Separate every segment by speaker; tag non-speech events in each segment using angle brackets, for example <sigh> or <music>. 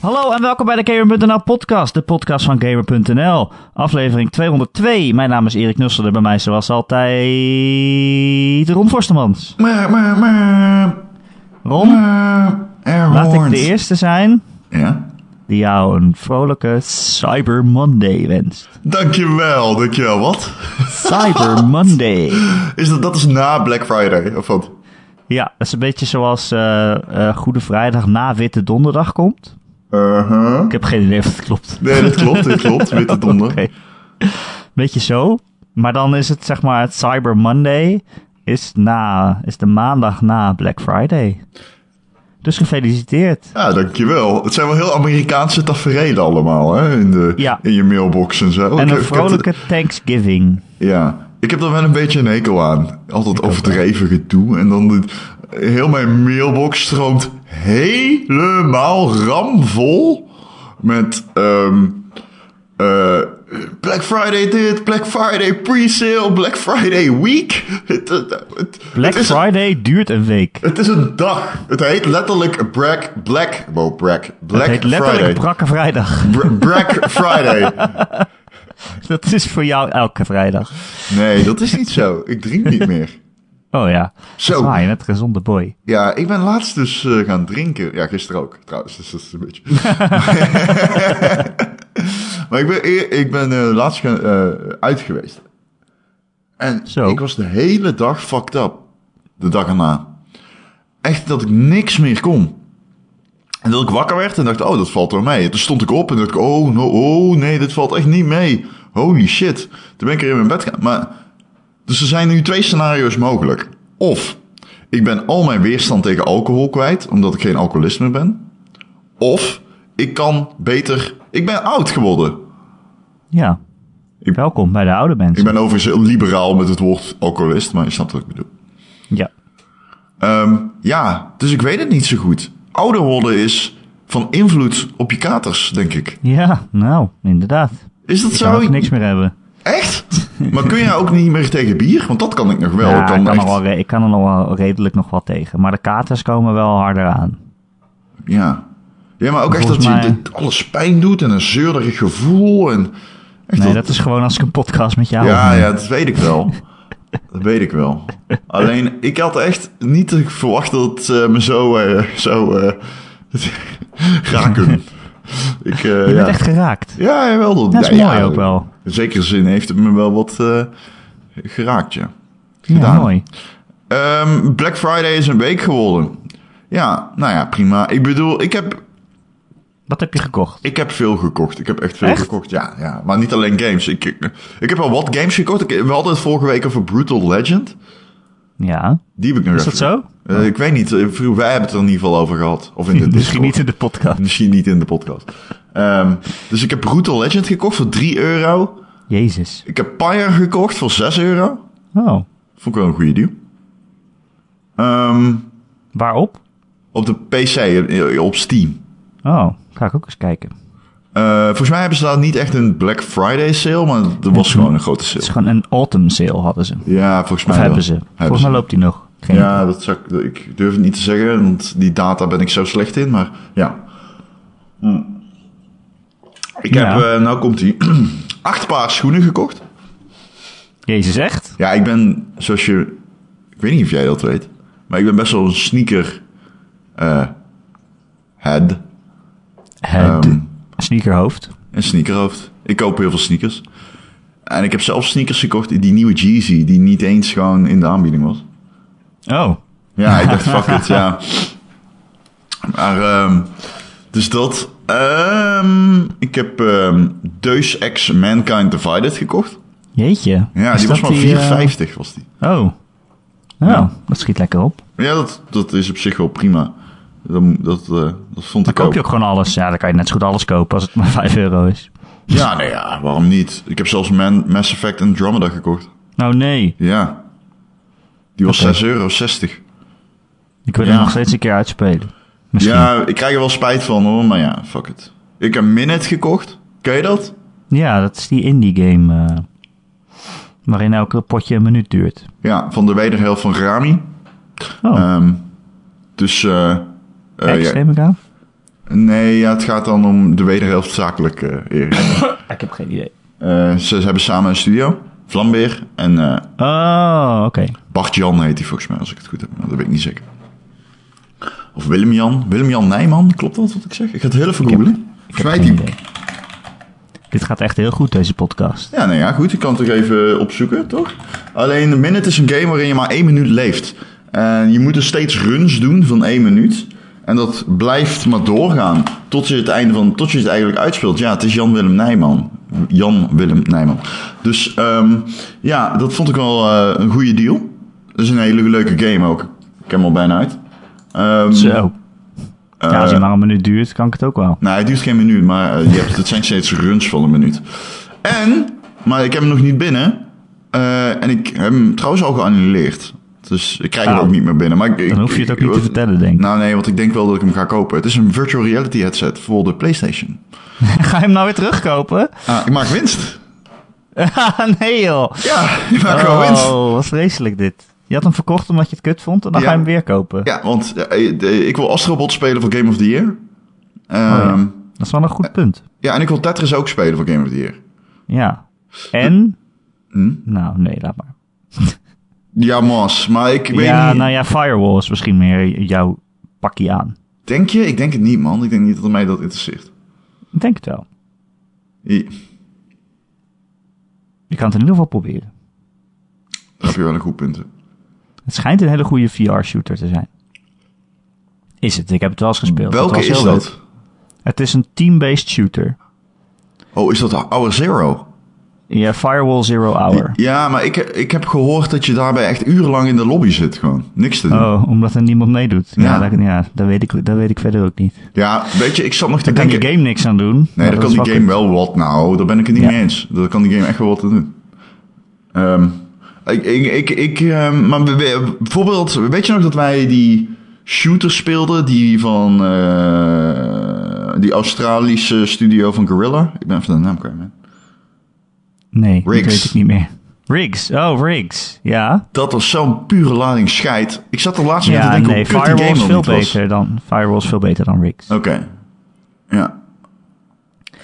Speaker 1: Hallo en welkom bij de Gamer.nl podcast, de podcast van Gamer.nl. Aflevering 202. Mijn naam is Erik Nussel en bij mij zoals altijd Ron Forstemans.
Speaker 2: Maar, maar, maar.
Speaker 1: Ron,
Speaker 2: maar, er
Speaker 1: laat ik
Speaker 2: hoort.
Speaker 1: de eerste zijn
Speaker 2: Ja?
Speaker 1: die jou een vrolijke Cyber Monday wenst.
Speaker 2: Dankjewel, dankjewel. Wat?
Speaker 1: Cyber Monday.
Speaker 2: Is dat, dat is na Black Friday, of wat?
Speaker 1: Ja, dat is een beetje zoals eh, eh, Goede Vrijdag na Witte Donderdag komt.
Speaker 2: Uh-huh.
Speaker 1: Ik heb geen idee of dat klopt.
Speaker 2: Nee, dat klopt, dat
Speaker 1: <laughs>
Speaker 2: klopt. Witte donder.
Speaker 1: Oké. Beetje zo. Maar dan is het zeg maar het Cyber Monday is, na, is de maandag na Black Friday. Dus gefeliciteerd.
Speaker 2: Ja, dankjewel. Het zijn wel heel Amerikaanse tafereelen allemaal, hè? In, de,
Speaker 1: Ja.
Speaker 2: in je mailbox en zo.
Speaker 1: En
Speaker 2: Ik- ik
Speaker 1: een
Speaker 2: heb
Speaker 1: vrolijke
Speaker 2: het-
Speaker 1: Thanksgiving.
Speaker 2: ja. Ik heb er wel een beetje een hekel aan. Altijd overdreven gedoe. En dan dit- heel mijn mailbox stroomt helemaal ramvol met... ehm eh, Black Friday dit, Black Friday pre-sale, Black Friday week. Het, het- het-
Speaker 1: Black
Speaker 2: het is-
Speaker 1: Friday duurt een week.
Speaker 2: het is een dag. Het heet letterlijk Black, Black, wow, Black, Black
Speaker 1: Het heet
Speaker 2: Friday.
Speaker 1: letterlijk Brakke Vrijdag. <laughs>
Speaker 2: Br- Black Friday.
Speaker 1: Dat is voor jou elke vrijdag.
Speaker 2: Nee, dat is niet zo. Ik drink niet meer.
Speaker 1: Oh ja.
Speaker 2: Zo.
Speaker 1: Ah, je bent een gezonde boy.
Speaker 2: Ja, ik ben laatst dus eh, gaan drinken. Ja, gisteren ook trouwens. Dus dat is een beetje. maar ik ben, eer- ik ben eh, laatst gaan, eh, uit geweest. En
Speaker 1: Zo.
Speaker 2: ik was de hele dag fucked up. De dag erna. Echt dat ik niks meer kon. En dat ik wakker werd en dacht, oh, dat valt wel mee. Toen stond ik op en dacht ik, oh, no, oh, nee, dit valt echt niet mee. Holy shit. Toen ben ik er in mijn bed gaan. Maar, dus er zijn nu twee scenario's mogelijk. Of, ik ben al mijn weerstand tegen alcohol kwijt, omdat ik geen alcoholist meer ben. Of, ik kan beter, ik ben oud geworden.
Speaker 1: Ja.
Speaker 2: Ik-
Speaker 1: Welkom bij de oude
Speaker 2: Ik
Speaker 1: mensen.
Speaker 2: ben overigens heel liberaal met het woord alcoholist, maar je snapt wat ik bedoel.
Speaker 1: Ja.
Speaker 2: Ehm, ja, dus ik weet het niet zo goed. Ouder worden is van invloed op je katers, denk ik.
Speaker 1: Ja, nou, inderdaad.
Speaker 2: Is dat
Speaker 1: Ik zou
Speaker 2: zo?
Speaker 1: ook niks meer hebben.
Speaker 2: Echt? Maar kun jij ook niet meer tegen bier? Want dat kan ik nog wel.
Speaker 1: Ja,
Speaker 2: ik
Speaker 1: ik,
Speaker 2: kan
Speaker 1: kan
Speaker 2: echt-
Speaker 1: er wel, re- ik kan er nog wel redelijk nog wat tegen. Maar de katers komen wel harder aan.
Speaker 2: ja. ja, maar ook echt dat
Speaker 1: Volgens
Speaker 2: je
Speaker 1: mij-
Speaker 2: dit alles pijn doet en een zeurderig gevoel. En echt
Speaker 1: Nee, dat is gewoon als ik een podcast met jou
Speaker 2: Ja,
Speaker 1: maak.
Speaker 2: ja, dat weet ik
Speaker 1: <laughs>
Speaker 2: wel. Dat weet ik wel. Alleen, ik had echt niet verwacht dat het eh, me zo, eh zo eh, <laughs> raken. Ik, eh,
Speaker 1: Je
Speaker 2: ja.
Speaker 1: bent echt geraakt.
Speaker 2: ja, jawel. Dat,
Speaker 1: Dat is
Speaker 2: ja,
Speaker 1: mooi
Speaker 2: ja,
Speaker 1: ook wel.
Speaker 2: In zekere zin heeft het me wel wat eh, geraakt, ja.
Speaker 1: Ja,
Speaker 2: Gedaan.
Speaker 1: mooi.
Speaker 2: Ehm, Black Friday is een week geworden. Ja, nou ja, prima. Ik bedoel, ik heb,
Speaker 1: Wat heb je gekocht?
Speaker 2: ik heb veel gekocht. Ik heb echt veel
Speaker 1: Echt?
Speaker 2: gekocht. Ja, ja, maar niet alleen games. Ik, ik, ik heb al wat games gekocht. Ik, we hadden het vorige week over Brutal Legend.
Speaker 1: Ja,
Speaker 2: Die heb ik nog
Speaker 1: is dat
Speaker 2: even-
Speaker 1: zo?
Speaker 2: Eh, ik weet niet. Eh, vroeger- Wij hebben het er in ieder geval over gehad.
Speaker 1: <laughs>
Speaker 2: Of in de
Speaker 1: Misschien
Speaker 2: Discord.
Speaker 1: niet in de podcast.
Speaker 2: Misschien niet in de podcast. Ehm, dus ik heb Brutal Legend gekocht voor 3 euro.
Speaker 1: Jezus.
Speaker 2: Ik heb Pyre gekocht voor 6 euro.
Speaker 1: Oh,
Speaker 2: Vond ik wel een goede deal. Ehm,
Speaker 1: waarop?
Speaker 2: op de PC, eh, op Steam.
Speaker 1: Oh, ga ik ook eens kijken.
Speaker 2: Eh, volgens mij hebben ze daar niet echt een Black Friday sale, maar er was gewoon een grote
Speaker 1: Het Hm. is
Speaker 2: sale.
Speaker 1: gewoon een autumn sale hadden ze. Of
Speaker 2: Ja, volgens mij. wel.
Speaker 1: hebben ze. Volgens mij
Speaker 2: ze.
Speaker 1: loopt die nog. Geen
Speaker 2: Ja, dat zou ik, ik durf het niet te zeggen, want die data ben ik zo slecht in, maar ja. Hm. Ik
Speaker 1: Ja.
Speaker 2: heb, eh, nou komt die, <clears throat> acht paar schoenen gekocht.
Speaker 1: Jezus, echt?
Speaker 2: Ja, ik ben, zoals je, ik weet niet of jij dat weet, maar ik ben best wel een sneaker eh, head,
Speaker 1: Het
Speaker 2: Ehm.
Speaker 1: sneakerhoofd.
Speaker 2: een sneakerhoofd. Ik koop heel veel sneakers. En ik heb zelf sneakers gekocht, die nieuwe Jeezy, die niet eens gewoon in de aanbieding was.
Speaker 1: Oh,
Speaker 2: Ja, ik dacht, fuck it, ja. Maar, ehm, dus dat. Ehm, ik heb ehm Deus Ex Mankind Divided gekocht.
Speaker 1: jeetje.
Speaker 2: Ja,
Speaker 1: Is
Speaker 2: die was
Speaker 1: dat
Speaker 2: maar 4,50
Speaker 1: eh,
Speaker 2: was die.
Speaker 1: Oh. Oh,
Speaker 2: Ja.
Speaker 1: dat schiet lekker op.
Speaker 2: Ja, dat, dat is op zich wel prima. Dat, dat, eh, dat
Speaker 1: Dan
Speaker 2: vond ik ook.
Speaker 1: koop je ook gewoon alles. Ja, dan kan je net zo goed alles kopen als het maar 5 euro is.
Speaker 2: Ja, nou ja, waarom niet? Ik heb zelfs Man, Mass Effect Andromeda gekocht.
Speaker 1: Nou nee,
Speaker 2: Ja. Die was
Speaker 1: Oké.
Speaker 2: 6,60 euro.
Speaker 1: ik wil
Speaker 2: Ja.
Speaker 1: hem nog steeds een keer uitspelen. Misschien. Ja,
Speaker 2: Ja, ik krijg er wel spijt van hoor, maar ja, fuck it. Ik heb Minute gekocht. Ken je dat?
Speaker 1: dat is die indie game. eh, waarin elke potje een minuut duurt.
Speaker 2: Ja, van de wederhelft van Rami.
Speaker 1: Oh,
Speaker 2: Ehm, dus, eh eh,
Speaker 1: X
Speaker 2: ja,
Speaker 1: neem ik aan.
Speaker 2: Nee, ja, het gaat dan om de wederhelft zakelijk, eh Erik.
Speaker 3: Ik heb geen idee.
Speaker 2: Eh, ze, ze hebben samen een studio. Vlambeer en eh,
Speaker 1: Oh, oké.
Speaker 2: Bart-Jan heet hij volgens mij, als ik het goed heb. Maar Dat weet ik niet zeker. Of Willem-Jan. Willem-Jan Nijman, klopt dat wat ik zeg? Ik ga het heel even googlen.
Speaker 1: Ik
Speaker 2: Volgens mij
Speaker 1: heb geen
Speaker 2: die-
Speaker 1: idee. Dit gaat echt heel goed, deze podcast.
Speaker 2: Ja, nou ja, goed. Ik kan het toch even opzoeken, toch? Alleen, een Minute is een game waarin je maar één minuut leeft. En je moet dus steeds runs doen van één minuut. En dat blijft maar doorgaan tot je het einde van, tot je het eigenlijk uitspeelt. Ja, het is Jan-Willem Nijman. Jan-Willem Nijman. Dus, ehm, ja, dat vond ik wel eh, een goede deal. Dat is een hele leuke game ook. Ik heb hem al bijna uit. Ehm,
Speaker 1: Zo. ja, als
Speaker 2: eh,
Speaker 1: het maar een minuut duurt, kan ik het ook wel. <laughs>
Speaker 2: nou, hij duurt geen minuut, maar eh, je hebt, het zijn steeds runs van een minuut. En, maar ik heb hem nog niet binnen. Eh, en ik heb hem trouwens al geannuleerd. Dus ik krijg hem
Speaker 1: Oh.
Speaker 2: ook niet meer binnen. Maar ik, ik-
Speaker 1: Dan hoef je het ook niet te
Speaker 2: ik-
Speaker 1: vertellen, denk ik.
Speaker 2: Nou nee, want ik denk wel dat ik hem ga kopen. Het is een virtual reality headset voor de PlayStation.
Speaker 1: Ga je hem nou weer terugkopen? <laughs>
Speaker 2: Ah, ik maak winst.
Speaker 1: nee joh.
Speaker 2: Ja, <laughs> Nou, ik maak wel winst.
Speaker 1: Oh, wat vreselijk dit. Je had hem verkocht omdat je het kut vond en dan
Speaker 2: Ja.
Speaker 1: ga je hem weer kopen.
Speaker 2: Ja, want eh, eh, ik wil Astrobot spelen voor Game of the Year.
Speaker 1: ja.
Speaker 2: Ehm,
Speaker 1: Dat is wel een goed punt.
Speaker 2: ja, en ik wil Tetris ook spelen voor Game of the Year.
Speaker 1: Ja. En?
Speaker 2: Hm?
Speaker 1: Nou, nee, laat maar.
Speaker 2: Ja, Mas, maar ik weet
Speaker 1: ja,
Speaker 2: niet...
Speaker 1: nou ja, firewall is misschien meer jouw pakje aan.
Speaker 2: Denk je? Ik denk het niet, man. Ik denk niet dat mij dat interesseert.
Speaker 1: Ik denk het wel.
Speaker 2: I-
Speaker 1: Je kan het in ieder geval proberen.
Speaker 2: Daar heb je wel een goed punt. hè.
Speaker 1: Het schijnt een hele goede VR-shooter te zijn. Is het? Ik heb het wel eens gespeeld. Het
Speaker 2: Welke
Speaker 1: was
Speaker 2: is
Speaker 1: heel
Speaker 2: dat?
Speaker 1: leuk. Het is een team-based shooter.
Speaker 2: Oh, is dat Hour Zero?
Speaker 1: Ja, Firewall Zero Hour.
Speaker 2: Ja, maar ik, ik heb gehoord dat je daarbij echt urenlang in de lobby zit. Gewoon niks te doen.
Speaker 1: Oh, omdat er niemand meedoet. Ja,
Speaker 2: Ja.
Speaker 1: dat, ja dat, weet ik, dat weet ik verder ook niet.
Speaker 2: Ja, weet je, ik zat nog te
Speaker 1: Daar kan die
Speaker 2: denken...
Speaker 1: game niks aan doen. maar
Speaker 2: nee,
Speaker 1: dat
Speaker 2: daar kan
Speaker 1: is
Speaker 2: die
Speaker 1: wel
Speaker 2: game wel wat. Nou, daar ben ik het niet
Speaker 1: Ja.
Speaker 2: mee eens. Daar kan die game echt wel wat aan doen. Ehm, ik, ik, ik, ik, ehm, maar we- we- bijvoorbeeld, weet je nog dat wij die shooter speelden? Die van eh, die Australische studio van Gorilla? Ik ben even de naam kwijt, man.
Speaker 1: kut. Nee,
Speaker 2: Riggs.
Speaker 1: dat weet ik niet meer. Riggs. Oh, Riggs. Ja.
Speaker 2: Dat was zo'n pure lading scheid. Ik zat er laatst nog te
Speaker 1: Ja,
Speaker 2: denken
Speaker 1: nee,
Speaker 2: hoe kut die
Speaker 1: Firewall
Speaker 2: game
Speaker 1: is
Speaker 2: nog
Speaker 1: veel
Speaker 2: niet was.
Speaker 1: beter dan, Firewall is veel beter dan Riggs.
Speaker 2: Oké. Ja.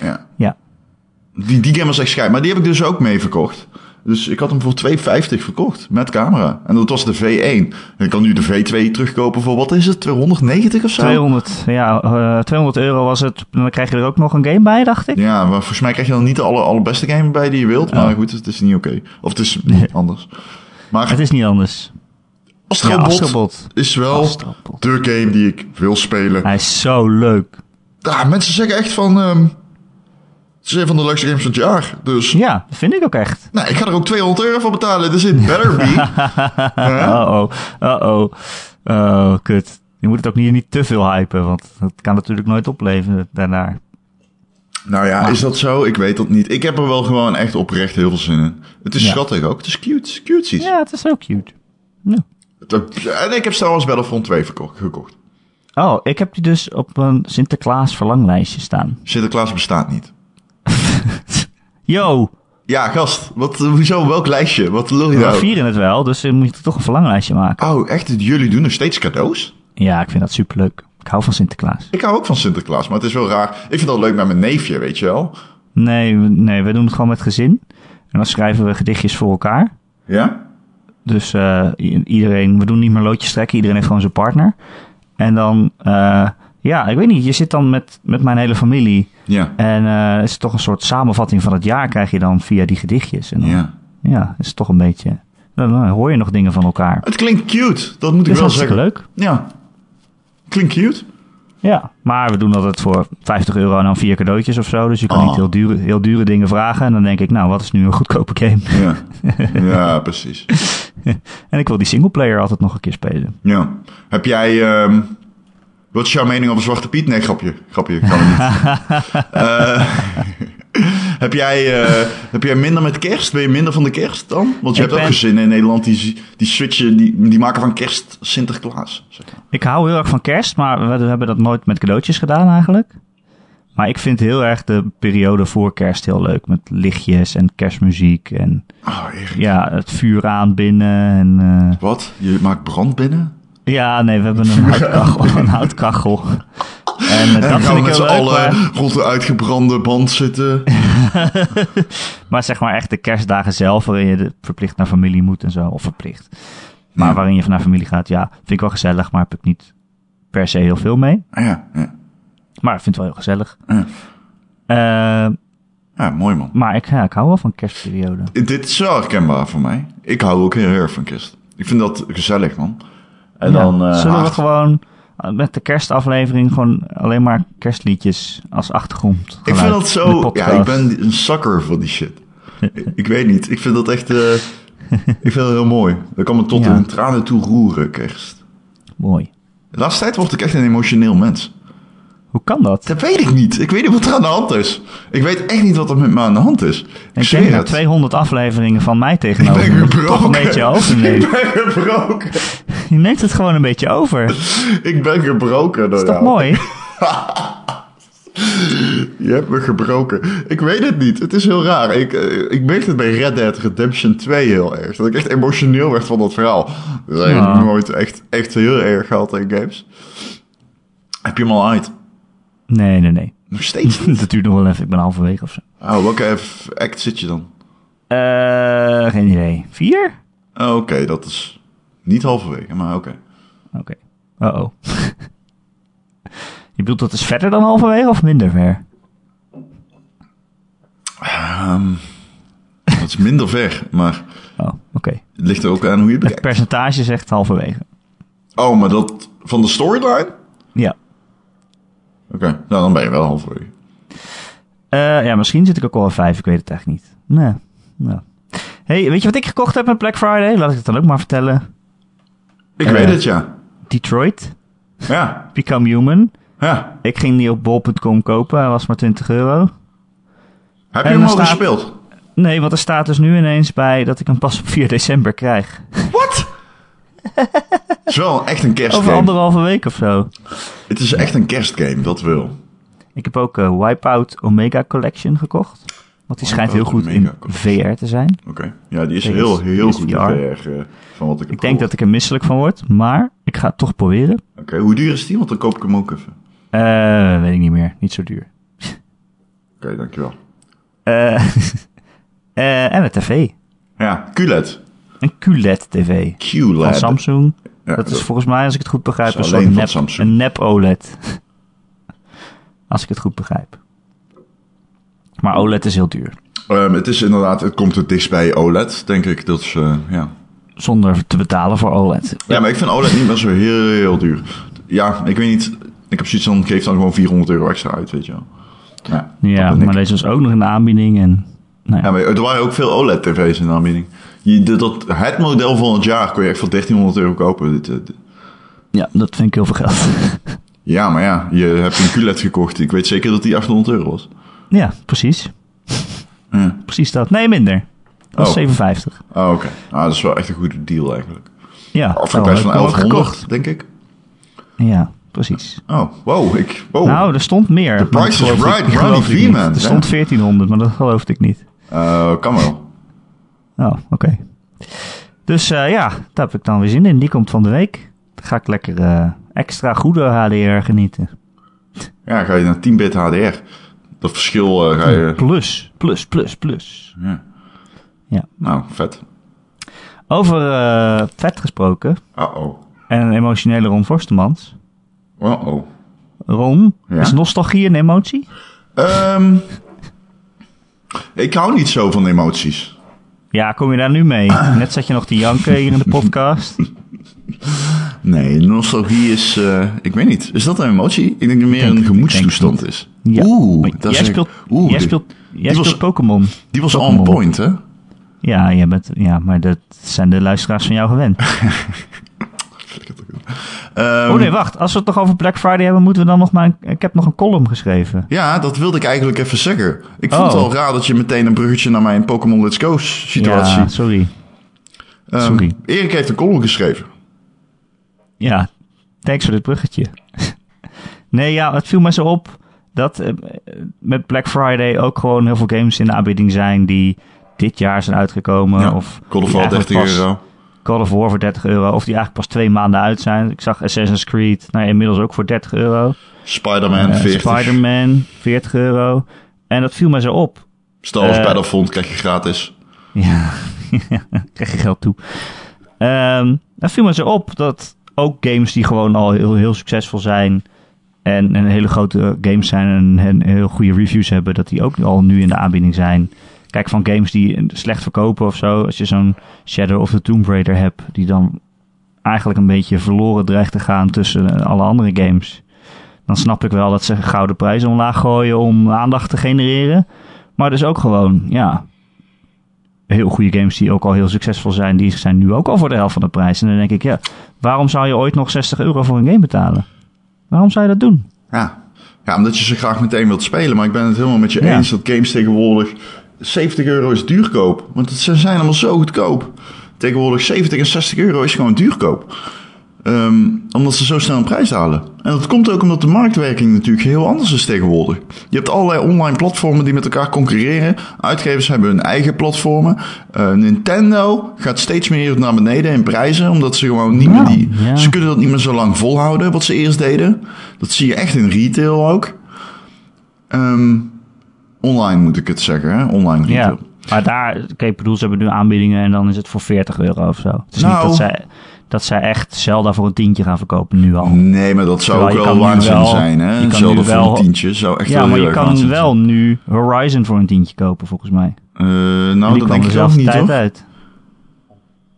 Speaker 2: Ja.
Speaker 1: Ja.
Speaker 2: Die, die game was echt scheid. Maar die heb ik dus ook mee verkocht. Dus ik had hem voor 2,50 verkocht met camera. En dat was de V1. En ik kan nu de V2 terugkopen voor, wat is het, 290 of zo?
Speaker 1: 200, ja, eh, 200 euro was het. En dan krijg je er ook nog een game bij, dacht ik.
Speaker 2: Ja, maar volgens mij krijg je dan niet de aller, allerbeste game bij die je wilt.
Speaker 1: Oh.
Speaker 2: Maar goed, het is niet oké. Of het is niet anders. Maar
Speaker 1: Het is niet anders.
Speaker 2: Astrobot,
Speaker 1: Ja, Astrobot.
Speaker 2: is wel
Speaker 1: Astrobot.
Speaker 2: de game die ik wil spelen.
Speaker 1: Hij is zo leuk.
Speaker 2: Ja, mensen zeggen echt van... ehm, het is een van de leukste games van het jaar. Dus
Speaker 1: Ja, dat vind ik ook echt.
Speaker 2: nou, ik ga er ook 200 euro voor betalen. Dus it
Speaker 1: <laughs>
Speaker 2: better be.
Speaker 1: Uh-oh, uh-oh. Oh, kut. Je moet het ook niet, niet te veel hypen, want dat kan natuurlijk nooit opleveren daarna.
Speaker 2: nou ja, is dat zo? Ik weet dat niet. Ik heb er wel gewoon echt oprecht heel veel zin in. Het is
Speaker 1: Ja.
Speaker 2: schattig ook. Het is cute. Cutesies.
Speaker 1: Ja, het is heel cute.
Speaker 2: Het- eh, En ik heb Star Wars Battlefront 2 verkocht, gekocht.
Speaker 1: Oh, ik heb die dus op een Sinterklaas verlanglijstje staan.
Speaker 2: Sinterklaas bestaat niet.
Speaker 1: Yo,
Speaker 2: Ja, gast. Wat, eh, hoezo? Welk lijstje? Wat lul je
Speaker 1: we
Speaker 2: nou?
Speaker 1: vieren het wel, dus dan moet je toch een verlanglijstje maken.
Speaker 2: Oh, echt? Jullie doen nog steeds cadeaus?
Speaker 1: Ja, ik vind dat superleuk. Ik hou van Sinterklaas.
Speaker 2: Ik hou ook van Sinterklaas, maar het is wel raar. Ik vind dat leuk met mijn neefje, weet je wel.
Speaker 1: Nee, we- nee, we doen het gewoon met gezin. En dan schrijven we gedichtjes voor elkaar.
Speaker 2: Ja?
Speaker 1: Dus eh, i- iedereen, we doen niet meer loodjes trekken, iedereen heeft gewoon zijn partner. En dan, eh, ja, ik weet niet, je zit dan met, met mijn hele familie.
Speaker 2: Ja.
Speaker 1: En eh is het toch een soort samenvatting van het jaar krijg je dan via die gedichtjes. En dan, ja.
Speaker 2: Ja.
Speaker 1: is het toch een beetje, dan, dan hoor je nog dingen van elkaar.
Speaker 2: Het klinkt cute, dat moet ik
Speaker 1: Dat is
Speaker 2: wel
Speaker 1: hartstikke
Speaker 2: zeggen.
Speaker 1: leuk.
Speaker 2: Ja. Klinkt cute.
Speaker 1: Ja, maar we doen altijd voor 50 euro en dan vier cadeautjes of zo. Dus je kan
Speaker 2: Oh.
Speaker 1: niet heel dure, heel dure dingen vragen. En dan denk ik, nou, wat is nu een goedkope game?
Speaker 2: Ja,
Speaker 1: <laughs>
Speaker 2: ja precies.
Speaker 1: En ik wil die singleplayer altijd nog een keer spelen.
Speaker 2: Ja. Heb jij... ehm, wat is jouw mening over Zwarte Piet? Nee, grapje. Grapje, kan het
Speaker 1: <laughs>
Speaker 2: niet. Eh, <laughs> heb, jij, eh, heb jij minder met kerst? Ben je minder van de kerst dan? Want je
Speaker 1: Ik
Speaker 2: hebt ook
Speaker 1: ben-
Speaker 2: gezinnen in Nederland die, die switchen, die, die maken van kerst Sinterklaas. zeg maar.
Speaker 1: Ik hou heel erg van kerst, maar we hebben dat nooit met cadeautjes gedaan eigenlijk. Maar ik vind heel erg de periode voor kerst heel leuk. Met lichtjes en kerstmuziek en
Speaker 2: Oh, Erik.
Speaker 1: ja, het vuur aanbinden. En, eh,
Speaker 2: Wat? Je maakt brand binnen? <laughs>
Speaker 1: ja, nee, we hebben een houtkachel. Een houtkachel. En En
Speaker 2: En
Speaker 1: dat
Speaker 2: gaan
Speaker 1: vind
Speaker 2: we
Speaker 1: ik
Speaker 2: Nou, met z'n
Speaker 1: heel leuk.
Speaker 2: allen
Speaker 1: maar-
Speaker 2: rond de uitgebrande band zitten.
Speaker 1: Maar zeg maar echt de kerstdagen zelf, waarin je de- verplicht naar familie moet en zo. Of verplicht. <laughs> Maar
Speaker 2: Ja.
Speaker 1: waarin je naar familie gaat, ja, vind ik wel gezellig, maar heb ik niet per se heel veel mee.
Speaker 2: Ah, Ja, ja,
Speaker 1: Maar ik vind het wel heel gezellig.
Speaker 2: ja.
Speaker 1: Eh,
Speaker 2: ja mooi man.
Speaker 1: maar ik, ja, ik hou wel van kerstperiode.
Speaker 2: Dit is wel herkenbaar voor mij. Ik hou ook heel erg van kerst. Ik vind dat gezellig, man. En
Speaker 1: Ja,
Speaker 2: dan... eh,
Speaker 1: zullen we
Speaker 2: haard-
Speaker 1: gewoon eh, met de kerstaflevering gewoon alleen maar kerstliedjes als achtergrond.
Speaker 2: Ik vind dat zo... Ja, ik ben een sucker voor die
Speaker 1: <laughs>
Speaker 2: shit. Ik- ik weet niet. Ik vind dat echt... eh, ik vind dat heel mooi. Dat kan me tot
Speaker 1: Ja.
Speaker 2: in tranen toe roeren, kerst.
Speaker 1: Mooi.
Speaker 2: De laatste tijd word ik echt een emotioneel mens.
Speaker 1: Hoe kan dat?
Speaker 2: Dat weet ik niet. Ik weet niet wat er aan de hand is. Ik weet echt niet wat er met me aan de hand is. Ik,
Speaker 1: Ik
Speaker 2: zweer
Speaker 1: denk na
Speaker 2: het.
Speaker 1: 200 afleveringen van mij
Speaker 2: Ik
Speaker 1: tegenover. me,
Speaker 2: ben
Speaker 1: <laughs> Toch een
Speaker 2: gebroken.
Speaker 1: beetje overneemt.
Speaker 2: <laughs> Ik ben gebroken.
Speaker 1: Je neemt het gewoon een beetje over. Dat
Speaker 2: Ik ben gebroken door
Speaker 1: is toch
Speaker 2: jou.
Speaker 1: mooi?
Speaker 2: Je hebt me gebroken. Ik weet het niet. Het is heel raar. Ik, eh, ik merkte het bij Red Dead Redemption 2 heel erg. Dat ik echt emotioneel werd van dat verhaal. Dat heb ik
Speaker 1: Ja.
Speaker 2: nooit echt, echt heel erg gehad in games. Heb je hem al uit?
Speaker 1: Nee, nee, <laughs> nee.
Speaker 2: Nog steeds niet.
Speaker 1: Dat duurt nog wel even. Ik ben halverwege of zo.
Speaker 2: <laughs> Oh, welke F- act zit je dan?
Speaker 1: Eh, geen idee. Vier?
Speaker 2: Oh, Oké, dat is niet halverwege, maar oké.
Speaker 1: Oké. Uh-oh. <laughs> Je bedoelt dat is verder dan halverwege of minder ver?
Speaker 2: Dat is minder ver, maar
Speaker 1: Oh, oké.
Speaker 2: het ligt er ook aan hoe je het
Speaker 1: Het
Speaker 2: bekijkt.
Speaker 1: percentage zegt halverwege.
Speaker 2: Oh, maar dat van de storyline?
Speaker 1: Ja.
Speaker 2: Oké, nou dan ben je wel halverwege.
Speaker 1: Eh, ja, misschien zit ik ook al op vijf. Ik weet het eigenlijk niet. Nee. Nou. hey, weet je wat ik gekocht heb met Black Friday? Laat ik het dan ook maar vertellen.
Speaker 2: Ik
Speaker 1: Eh.
Speaker 2: weet het, ja.
Speaker 1: Detroit.
Speaker 2: Ja,
Speaker 1: Become Human.
Speaker 2: ja.
Speaker 1: Ik ging die op bol.com kopen. Hij was maar 20 euro.
Speaker 2: Heb
Speaker 1: En
Speaker 2: je hem
Speaker 1: dan
Speaker 2: al
Speaker 1: staat-
Speaker 2: gespeeld?
Speaker 1: Nee, want er staat dus nu ineens bij dat ik hem pas op 4 <laughs> december krijg.
Speaker 2: Wat? Het is wel echt een
Speaker 1: Over
Speaker 2: kerstgame.
Speaker 1: anderhalve week of zo.
Speaker 2: Het is echt een kerstgame, dat wil.
Speaker 1: Ik heb ook eh, Wipeout Omega Collection gekocht. Want die schijnt heel
Speaker 2: Wipeout
Speaker 1: goed in
Speaker 2: Omega Collection.
Speaker 1: VR te zijn.
Speaker 2: Oké. Ja, die is
Speaker 1: Tegen
Speaker 2: heel,
Speaker 1: s-
Speaker 2: heel
Speaker 1: is
Speaker 2: goed
Speaker 1: VR.
Speaker 2: in VR, eh, van wat ik heb
Speaker 1: Ik denk dat ik er misselijk van word, maar ik ga het toch proberen.
Speaker 2: Oké, hoe duur is die? Want dan koop ik hem ook even.
Speaker 1: Eh, weet ik niet meer. Niet zo duur.
Speaker 2: Oké, dankjewel.
Speaker 1: Eh, <laughs> eh, en een tv.
Speaker 2: Ja, E QLED.
Speaker 1: Een E QLED-tv. Van
Speaker 2: QLED.
Speaker 1: Samsung.
Speaker 2: E Ja, dus,
Speaker 1: dat is
Speaker 2: dat-
Speaker 1: volgens mij, als ik het goed begrijp,
Speaker 2: Dat
Speaker 1: een
Speaker 2: is
Speaker 1: soort
Speaker 2: alleen van
Speaker 1: nep,
Speaker 2: Samsung.
Speaker 1: een nep OLED. <laughs> als ik het goed begrijp. Maar OLED is heel duur.
Speaker 2: Ehm, het is inderdaad, het komt het dichtst bij OLED, denk ik. Dat is, eh, ja.
Speaker 1: Zonder te betalen voor E OLED.
Speaker 2: ja, maar ik vind OLED niet meer zo heel, heel duur. Ja, ik weet niet. Ik heb zoiets van, geef dan gewoon 400 euro extra uit, weet je wel. Ja,
Speaker 1: Ja,
Speaker 2: dat ben ik.
Speaker 1: maar deze was ook nog in de aanbieding. En, nou ja.
Speaker 2: Ja, maar er waren ook veel E OLED-tv's in de aanbieding. Je, dat- dat, het model van het jaar kon je echt voor 1300 euro kopen. Dit, eh, dit-
Speaker 1: ja, dat vind ik heel veel geld. <laughs>
Speaker 2: Ja, maar ja, je hebt een QLED gekocht. Ik weet zeker dat die 800 euro was.
Speaker 1: ja, precies.
Speaker 2: Ja.
Speaker 1: Precies dat. Nee, minder. Dat was
Speaker 2: Oh.
Speaker 1: 57.
Speaker 2: Ah, oké. Ah, dat is wel echt een goede deal eigenlijk.
Speaker 1: Ja,
Speaker 2: Of een
Speaker 1: daarom
Speaker 2: prijs
Speaker 1: heb
Speaker 2: van
Speaker 1: Oh, ik hem ook
Speaker 2: 1100, denk ik.
Speaker 1: Ja, precies.
Speaker 2: Oh, wow. Ik, wow.
Speaker 1: Nou, er stond meer. The
Speaker 2: price is right, Brownie V, man.
Speaker 1: Er stond 1400, maar dat geloofde ik niet.
Speaker 2: Eh, kan wel.
Speaker 1: Oh, oké. Dus eh, ja, daar heb ik dan weer zin in. Die komt van de week. Dan ga ik lekker eh, extra goede HDR genieten.
Speaker 2: Ja, ga je naar 10-bit HDR. Dat verschil eh, ga je...
Speaker 1: Plus, plus, plus, plus.
Speaker 2: Ja.
Speaker 1: Ja.
Speaker 2: Nou, vet.
Speaker 1: Over eh, vet gesproken
Speaker 2: Uh-oh.
Speaker 1: en een emotionele Ron Forstemans.
Speaker 2: Uh-oh.
Speaker 1: Ron,
Speaker 2: Ja.
Speaker 1: is nostalgie een emotie?
Speaker 2: Ehm, ik hou niet zo van emoties.
Speaker 1: Ja, kom je daar nu
Speaker 2: <clears throat>
Speaker 1: mee? Net zat je nog te janken hier in de podcast.
Speaker 2: Nee, nostalgie is, eh, ik weet niet. Is dat een emotie? Ik denk dat het meer een gemoedstoestand is.
Speaker 1: Ja.
Speaker 2: Oeh,
Speaker 1: Maar
Speaker 2: dat is
Speaker 1: jij
Speaker 2: echt-
Speaker 1: speelt,
Speaker 2: oeh,
Speaker 1: jij
Speaker 2: die-
Speaker 1: speelt, jij
Speaker 2: was-
Speaker 1: speelt Pokémon.
Speaker 2: Die was on
Speaker 1: Pokémon.
Speaker 2: point, hè?
Speaker 1: Ja, jij bent, ja, maar dat zijn de luisteraars van jou gewend.
Speaker 2: <laughs> Ehm,
Speaker 1: Oh nee, wacht. Als we het nog over Black Friday hebben, moeten we dan nog maar... Een, ik heb nog een column geschreven.
Speaker 2: Ja, dat wilde ik eigenlijk even zeggen. Ik vond het
Speaker 1: Oh.
Speaker 2: al raar dat je meteen een bruggetje naar mijn Pokémon Let's Go situatie.
Speaker 1: Ja, sorry.
Speaker 2: Ehm,
Speaker 1: sorry.
Speaker 2: Erik heeft een column geschreven.
Speaker 1: Ja, thanks voor dit bruggetje. <laughs> nee, ja, het viel me zo op dat eh, met Black Friday ook gewoon heel veel games in de aanbieding zijn die dit jaar zijn uitgekomen.
Speaker 2: Ja,
Speaker 1: of
Speaker 2: God of
Speaker 1: die
Speaker 2: War
Speaker 1: eigenlijk
Speaker 2: 30
Speaker 1: pas-
Speaker 2: euro.
Speaker 1: God of War voor 30 euro. Of die eigenlijk pas twee maanden uit zijn. Ik zag Assassin's Creed, nou ja, inmiddels ook voor 30 euro.
Speaker 2: Spider-Man
Speaker 1: Eh,
Speaker 2: 40.
Speaker 1: Spider-Man, 40 euro. En dat viel mij zo op.
Speaker 2: Star Wars
Speaker 1: eh,
Speaker 2: Battlefront krijg je gratis.
Speaker 1: Ja, <laughs> krijg je geld toe. Ehm dat viel me zo op dat ook games die gewoon al heel, heel succesvol zijn... en een hele grote games zijn en, en heel goede reviews hebben... dat die ook al nu in de aanbieding zijn. Kijk, van games die slecht verkopen of zo... als je zo'n Shadow of the Tomb Raider hebt... die dan eigenlijk een beetje verloren dreigt te gaan tussen eh, alle andere games... dan snap ik wel dat ze gouden prijzen omlaag gooien om aandacht te genereren... Maar dus ook gewoon, ja, heel goede games die ook al heel succesvol zijn, die zijn nu ook al voor de helft van de prijs. En dan denk ik, ja, waarom zou je ooit nog 60 euro voor een game betalen? Waarom zou je dat doen?
Speaker 2: Ja. ja, omdat je ze graag meteen wilt spelen. Maar ik ben het helemaal met je
Speaker 1: Ja.
Speaker 2: eens dat games tegenwoordig... 70 euro is duurkoop. Want ze zijn allemaal zo goedkoop. Tegenwoordig 70 en 60 euro is gewoon duurkoop. Ehm, omdat ze zo snel een prijs halen. En dat komt ook omdat de marktwerking natuurlijk heel anders is tegenwoordig. Je hebt allerlei online platformen die met elkaar concurreren. Uitgevers hebben hun eigen platformen. Eh, Nintendo gaat steeds meer naar beneden in prijzen. Omdat ze gewoon niet
Speaker 1: Ja,
Speaker 2: meer die.
Speaker 1: ja.
Speaker 2: Ze kunnen dat niet meer zo lang volhouden wat ze eerst deden. Dat zie je echt in retail ook. Ehm, online moet ik het zeggen, hè? Online retail.
Speaker 1: Ja. Maar daar, oké, ik bedoel, ze hebben nu aanbiedingen en dan is het voor 40 euro of zo. Het is niet
Speaker 2: Nou.
Speaker 1: dat zij, dat zij echt Zelda voor een tientje gaan verkopen nu al.
Speaker 2: Nee, maar dat zou
Speaker 1: Terwijl je
Speaker 2: ook
Speaker 1: kan
Speaker 2: wel
Speaker 1: nu
Speaker 2: waanzin
Speaker 1: wel-
Speaker 2: zijn,
Speaker 1: je
Speaker 2: hè?
Speaker 1: kan nu
Speaker 2: Hetzelfde voor een
Speaker 1: wel-
Speaker 2: tientje zou echt
Speaker 1: Ja,
Speaker 2: wel
Speaker 1: maar
Speaker 2: heel
Speaker 1: je
Speaker 2: erg
Speaker 1: kan
Speaker 2: waanzin zijn.
Speaker 1: wel nu Horizon voor een tientje kopen, volgens mij.
Speaker 2: Eh,
Speaker 1: En
Speaker 2: nou,
Speaker 1: die kwam
Speaker 2: dat denk ik zelf
Speaker 1: dezelfde
Speaker 2: niet,
Speaker 1: tijd
Speaker 2: hoor.
Speaker 1: uit.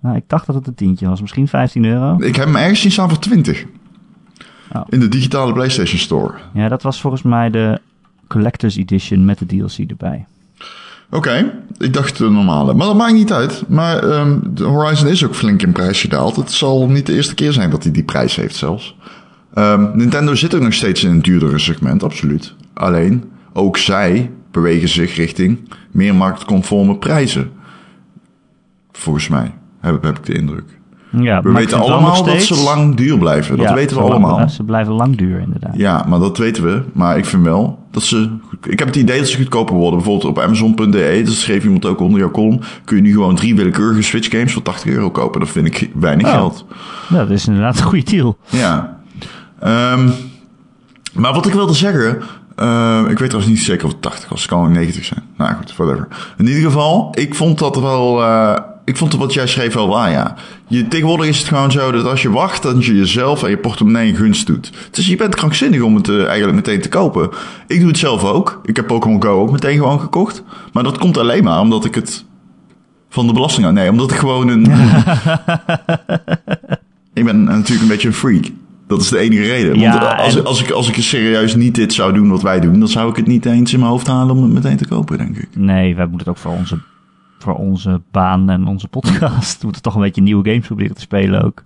Speaker 1: Nou, ik dacht dat het een tientje was, misschien 15 euro.
Speaker 2: Ik heb hem ergens zien staan voor 20.
Speaker 1: Oh.
Speaker 2: In de digitale PlayStation Store.
Speaker 1: Ja, dat was volgens mij de Collector's Edition met de DLC erbij.
Speaker 2: Oké, ik dacht de normale. Maar dat maakt niet uit. Maar ehm, de Horizon is ook flink in prijs gedaald. Het zal niet de eerste keer zijn dat hij die prijs heeft zelfs. Ehm, Nintendo zit ook nog steeds in een duurdere segment, absoluut. Alleen, ook zij bewegen zich richting meer marktconforme prijzen. Volgens mij, heb, heb ik de indruk.
Speaker 1: Ja,
Speaker 2: We weten allemaal dat ze lang duur blijven. Dat weten we allemaal.
Speaker 1: Ze blijven lang duur, inderdaad.
Speaker 2: Ja, maar dat weten we. Maar ik vind wel dat ze. Ik heb het idee dat ze goedkoper worden. Bijvoorbeeld op Amazon.de, dat schreef iemand ook onder jouw column. Kun je nu gewoon drie willekeurige Switch games voor 80 euro kopen. Dat vind ik weinig
Speaker 1: Oh.
Speaker 2: geld.
Speaker 1: Ja, dat is inderdaad een goede deal.
Speaker 2: Ja. Ehm, maar wat ik wilde zeggen. ehm, ik weet trouwens niet zeker of het 80 was. Het kan ook 90 zijn. Nou goed, whatever. In ieder geval, ik vond dat wel. eh, ik vond wat jij schreef wel waar, ja. Je, tegenwoordig is het gewoon zo dat als je wacht, dan je jezelf en je portemonnee een gunst doet. Dus je bent krankzinnig om het eh, eigenlijk meteen te kopen. Ik doe het zelf ook. Ik heb Pokémon Go ook meteen gewoon gekocht. Maar dat komt alleen maar omdat ik het van de belasting aan. Nee, omdat ik gewoon een. <laughs> ik ben natuurlijk een beetje een freak. Dat is de enige reden. Want
Speaker 1: Ja,
Speaker 2: als,
Speaker 1: en-
Speaker 2: als, ik, als ik serieus niet dit zou doen wat wij doen, dan zou ik het niet eens in mijn hoofd halen om het meteen te kopen, denk ik.
Speaker 1: Nee, wij moeten het ook voor onze, voor onze baan en onze podcast. We moeten toch een beetje nieuwe games proberen te spelen ook.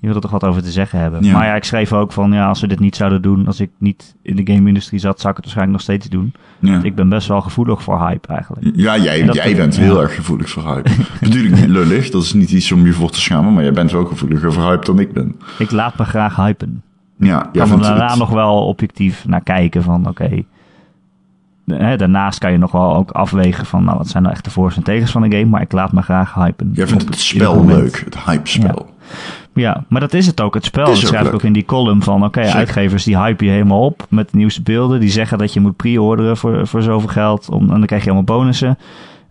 Speaker 1: Je wil er toch wat over te zeggen hebben.
Speaker 2: Ja.
Speaker 1: Maar ja, ik schreef ook van, ja, als we dit niet zouden doen, als ik niet in de game-industrie zat, zou ik het waarschijnlijk nog steeds doen.
Speaker 2: Ja,
Speaker 1: Ik ben best wel gevoelig voor hype eigenlijk.
Speaker 2: ja jij,
Speaker 1: dat-
Speaker 2: jij bent
Speaker 1: ja.
Speaker 2: heel erg gevoelig voor
Speaker 1: <laughs>
Speaker 2: hype. Natuurlijk niet lullig, dat is niet iets om je voor te schamen, maar jij bent wel gevoeliger voor hype dan ik ben.
Speaker 1: Ik laat me graag hypen.
Speaker 2: Ja, jij
Speaker 1: kan er
Speaker 2: vindt
Speaker 1: daarna
Speaker 2: het-
Speaker 1: nog wel objectief naar kijken van oké. hè, Daarnaast kan je nog wel ook afwegen van nou, wat zijn nou echt de voor's en tegens van een game, maar ik laat me graag hypen.
Speaker 2: Jij vindt
Speaker 1: Op
Speaker 2: het
Speaker 1: ieder
Speaker 2: spel
Speaker 1: moment.
Speaker 2: leuk, het hype-spel.
Speaker 1: Ja, maar dat is het ook, het spel.
Speaker 2: Is
Speaker 1: Dat
Speaker 2: ook
Speaker 1: schrijf ik
Speaker 2: leuk.
Speaker 1: ook in die column van oké,
Speaker 2: Zeker.
Speaker 1: uitgevers die hype je helemaal op met de nieuwste beelden. Die zeggen dat je moet pre-orderen voor, voor zoveel geld om, en dan krijg je allemaal bonussen.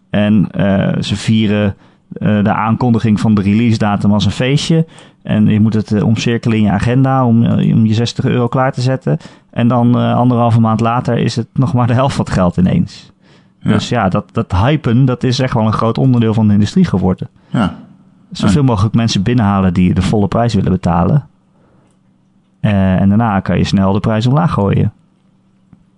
Speaker 1: En eh, ze vieren eh, de aankondiging van de release datum als een feestje. En je moet het eh, omcirkelen in je agenda om, eh, om je 60 euro klaar te zetten. En dan eh, anderhalve maand later is het nog maar de helft van het geld ineens.
Speaker 2: Ja.
Speaker 1: Dus ja, dat, dat hypen, dat is echt wel een groot onderdeel van de industrie geworden.
Speaker 2: Ja.
Speaker 1: Zoveel mogelijk mensen binnenhalen die de volle prijs willen betalen. Eh, en daarna kan je snel de prijs omlaag gooien.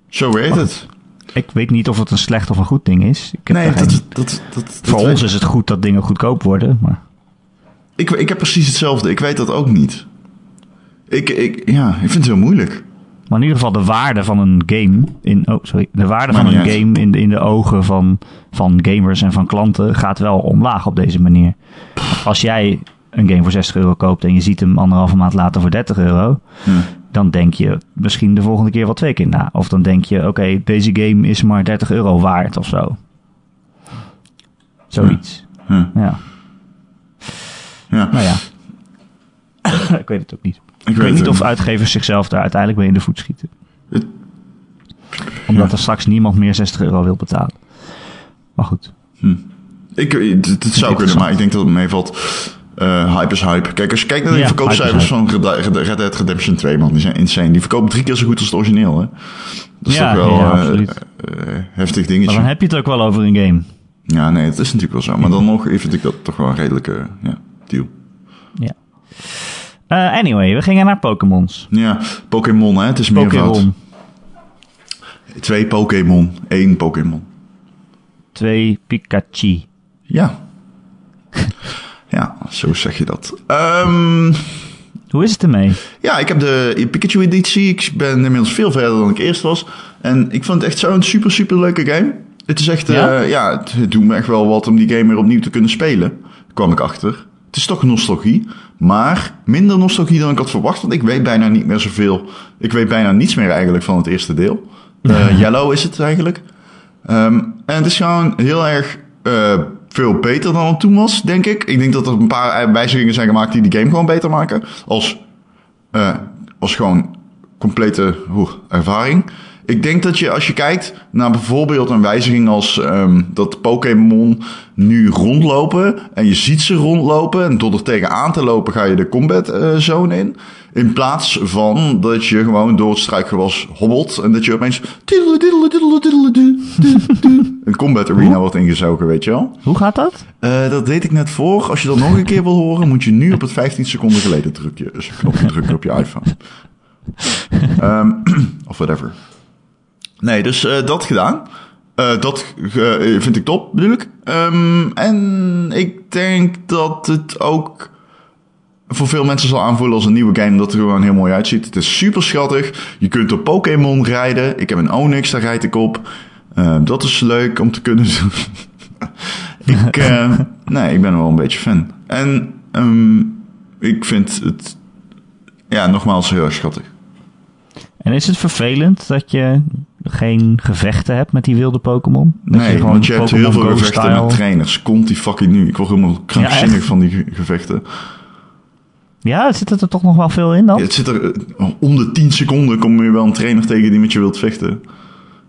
Speaker 2: Zo weet het.
Speaker 1: Ik weet niet of het een slecht of een goed ding is. Ik heb
Speaker 2: Nee,
Speaker 1: daar
Speaker 2: dat,
Speaker 1: geen-
Speaker 2: dat, dat, dat,
Speaker 1: voor
Speaker 2: dat-
Speaker 1: ons is het goed dat dingen goedkoop worden. Maar
Speaker 2: Ik, ik heb precies hetzelfde. Ik weet dat ook niet. Ik, ik, ja, ik vind het heel moeilijk.
Speaker 1: Maar in ieder geval de waarde van een game in oh, sorry, de waarde
Speaker 2: Maakt
Speaker 1: van een
Speaker 2: niet uit.
Speaker 1: game in, de- in de ogen van, van gamers en van klanten gaat wel omlaag op deze manier. Als jij een game voor 60 euro koopt en je ziet hem anderhalve maand later voor 30 euro, dan denk je misschien de volgende keer wel twee keer na. Of dan denk je, oké, deze game is maar 30 euro waard of zo. Zoiets.
Speaker 2: Ja.
Speaker 1: Ja.
Speaker 2: Ja.
Speaker 1: Nou ja. <coughs> ik weet het ook niet. Ik,
Speaker 2: het
Speaker 1: weet niet
Speaker 2: ook
Speaker 1: of uitgevers zichzelf daar uiteindelijk mee in de voet schieten.
Speaker 2: Het-
Speaker 1: Omdat er straks niemand meer 60 euro wil betalen. Maar goed.
Speaker 2: Ik, het, het zou kunnen, maar ik denk dat het meevalt. Eh hype is hype. Kijk, als je kijkt naar de
Speaker 1: Ja,
Speaker 2: verkoopcijfers
Speaker 1: hype
Speaker 2: van Red Dead- Red Dead Redemption 2, man, die zijn insane. Die verkopen drie keer zo goed als het origineel, hè? Dat is
Speaker 1: Ja,
Speaker 2: toch wel
Speaker 1: ja,
Speaker 2: eh,
Speaker 1: absoluut.
Speaker 2: eh, heftig
Speaker 1: Maar
Speaker 2: dingetje.
Speaker 1: dan heb je het ook wel over een game.
Speaker 2: Ja, nee, het is natuurlijk wel zo. Maar dan nog vind ik dat toch wel een redelijke ja, deal.
Speaker 1: Ja. Eh, anyway, we gingen naar Pokémons.
Speaker 2: Ja, Pokémon, hè? Het is meervoud.
Speaker 1: Pokémon.
Speaker 2: Twee Pokémon, één Pokémon.
Speaker 1: 2 Pikachu.
Speaker 2: Ja. ja, zo zeg je dat. Ehm...
Speaker 1: Hoe is het ermee?
Speaker 2: Ja, ik heb de Pikachu-editie. Ik ben inmiddels veel verder dan ik eerst was. En ik vond het echt zo'n super, super leuke game. Het is echt, eh, ja,
Speaker 1: Ja?
Speaker 2: het, het doet me echt wel wat om die game weer opnieuw te kunnen spelen. Daar kwam ik achter. Het is toch nostalgie, maar minder nostalgie dan ik had verwacht. Want ik weet bijna niet meer zoveel. Ik weet bijna niets meer eigenlijk van het eerste deel. Eh, Yellow is het eigenlijk. Ehm, en het is gewoon heel erg eh, veel beter dan het toen was, denk ik. Ik denk dat er een paar eh, wijzigingen zijn gemaakt die die game gewoon beter maken. Als eh, als gewoon complete hoe, ervaring. Ik denk dat je als je kijkt naar bijvoorbeeld een wijziging als ehm, dat Pokémon nu rondlopen en je ziet ze rondlopen en door er tegenaan te lopen ga je de combat eh, zone in. In plaats van dat je gewoon door het struikgewas hobbelt en dat je opeens tiddele, tiddele, tiddele, tiddele, du, du, du, een combat arena wordt ingezogen, weet je wel.
Speaker 1: Hoe gaat dat?
Speaker 2: Eh, dat deed ik net voor. Als je dat nog een keer wil horen, moet je nu op het 15 seconden geleden drukje, knopje drukken eh, op je iPhone. Ehm, <clears throat> of whatever. Nee, dus eh, dat gedaan. Eh, dat eh, vind ik top, bedoel ik. Ehm, en ik denk dat het ook voor veel mensen zal aanvoelen als een nieuwe game, omdat het er gewoon heel mooi uitziet. Het is super schattig. Je kunt op Pokémon rijden. Ik heb een Onyx, daar rijd ik op. Ehm, dat is leuk om te kunnen <laughs> doen. ik, eh,
Speaker 1: <laughs>
Speaker 2: nee, ik ben wel een beetje fan. En ehm, ik vind het, ja, nogmaals heel erg schattig.
Speaker 1: En is het vervelend dat je geen gevechten hebt met die wilde Pokémon? Dat
Speaker 2: nee, want je hebt heel
Speaker 1: Pokémon
Speaker 2: veel
Speaker 1: Go
Speaker 2: gevechten
Speaker 1: style-
Speaker 2: met trainers. Komt die fucking nu? Ik word helemaal krankzinnig
Speaker 1: echt? Oh.
Speaker 2: van die ge- gevechten.
Speaker 1: Ja, zit het er toch nog wel veel in dan?
Speaker 2: Ja, het zit er, eh, om de 10 seconden kom je wel een trainer tegen die met je wilt vechten.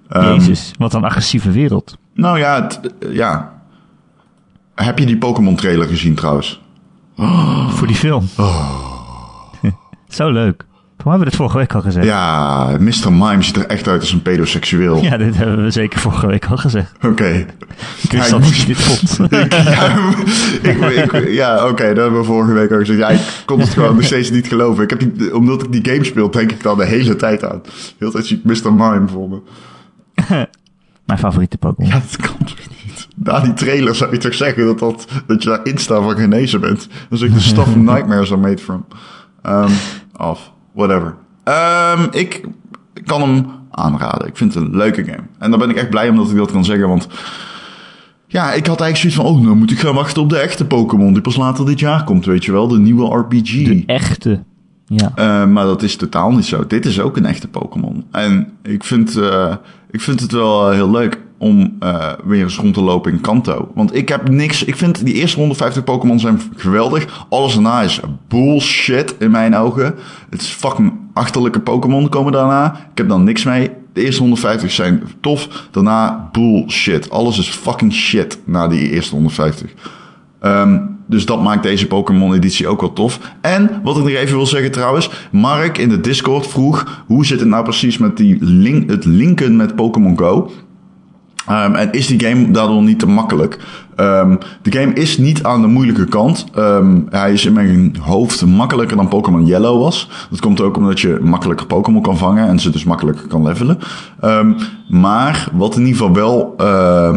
Speaker 2: Ehm,
Speaker 1: Jezus, wat een agressieve wereld.
Speaker 2: Nou ja, het- eh, ja. Heb je die Pokémon trailer gezien trouwens?
Speaker 1: Voor die film. <laughs> Zo leuk. Voor mij hebben we dit vorige week al gezegd. <laughs> Ja,
Speaker 2: Oh. Ja, Mr. Mime ziet er echt uit als een pedoseksueel.
Speaker 1: dit hebben we zeker vorige week al gezegd.
Speaker 2: Oké.
Speaker 1: Ik wist
Speaker 2: Ja,
Speaker 1: al
Speaker 2: ik-
Speaker 1: dat je dit
Speaker 2: <laughs>
Speaker 1: vond.
Speaker 2: ja, ik- ik- ja, oké, dat hebben we vorige week ook gezegd. Ja, ik kon het gewoon nog steeds niet geloven. Ik heb die, omdat ik die game speel, denk ik dan de hele tijd aan. De hele tijd zie ik Mr. Mime voor me.
Speaker 1: Mijn favoriete Pokémon.
Speaker 2: Ja, dat kan toch niet? Na die trailer zou je toch zeggen dat, dat, dat je daar Insta van genezen bent. Dat is ook de stuff nightmares are made from. Ehm of whatever. Ehm, ik kan hem aanraden. Ik vind het een leuke game. En daar ben ik echt blij om dat ik dat kan zeggen, want... Ja, ik had eigenlijk zoiets van, oh, nou moet ik gaan wachten op de echte Pokémon die pas later dit jaar komt, weet je wel. De nieuwe RPG.
Speaker 1: De echte. Ja.
Speaker 2: Eh, maar dat is totaal niet zo. Dit is ook een echte Pokémon. En ik vind, eh, ik vind het wel eh, heel leuk om eh, weer eens rond te lopen in Kanto. Want ik heb niks... Ik vind die eerste 150 Pokémon zijn geweldig. Alles daarna is bullshit in mijn ogen. Het is fucking achterlijke Pokémon komen daarna. Ik heb dan niks mee. De eerste 150 zijn tof. Daarna bullshit. Alles is fucking shit na die eerste 150. Ehm, dus dat maakt deze Pokémon-editie ook wel tof. En wat ik nog even wil zeggen trouwens. Mark in de Discord vroeg: hoe zit het nou precies met die link, het linken met Pokémon Go? Ehm, en is die game daardoor niet te makkelijk? Ehm, de game is niet aan de moeilijke kant. Ehm, hij is in mijn hoofd makkelijker dan Pokémon Yellow was. Dat komt ook omdat je makkelijker Pokémon kan vangen en ze dus makkelijker kan levelen. Ehm, maar wat in ieder geval wel eh,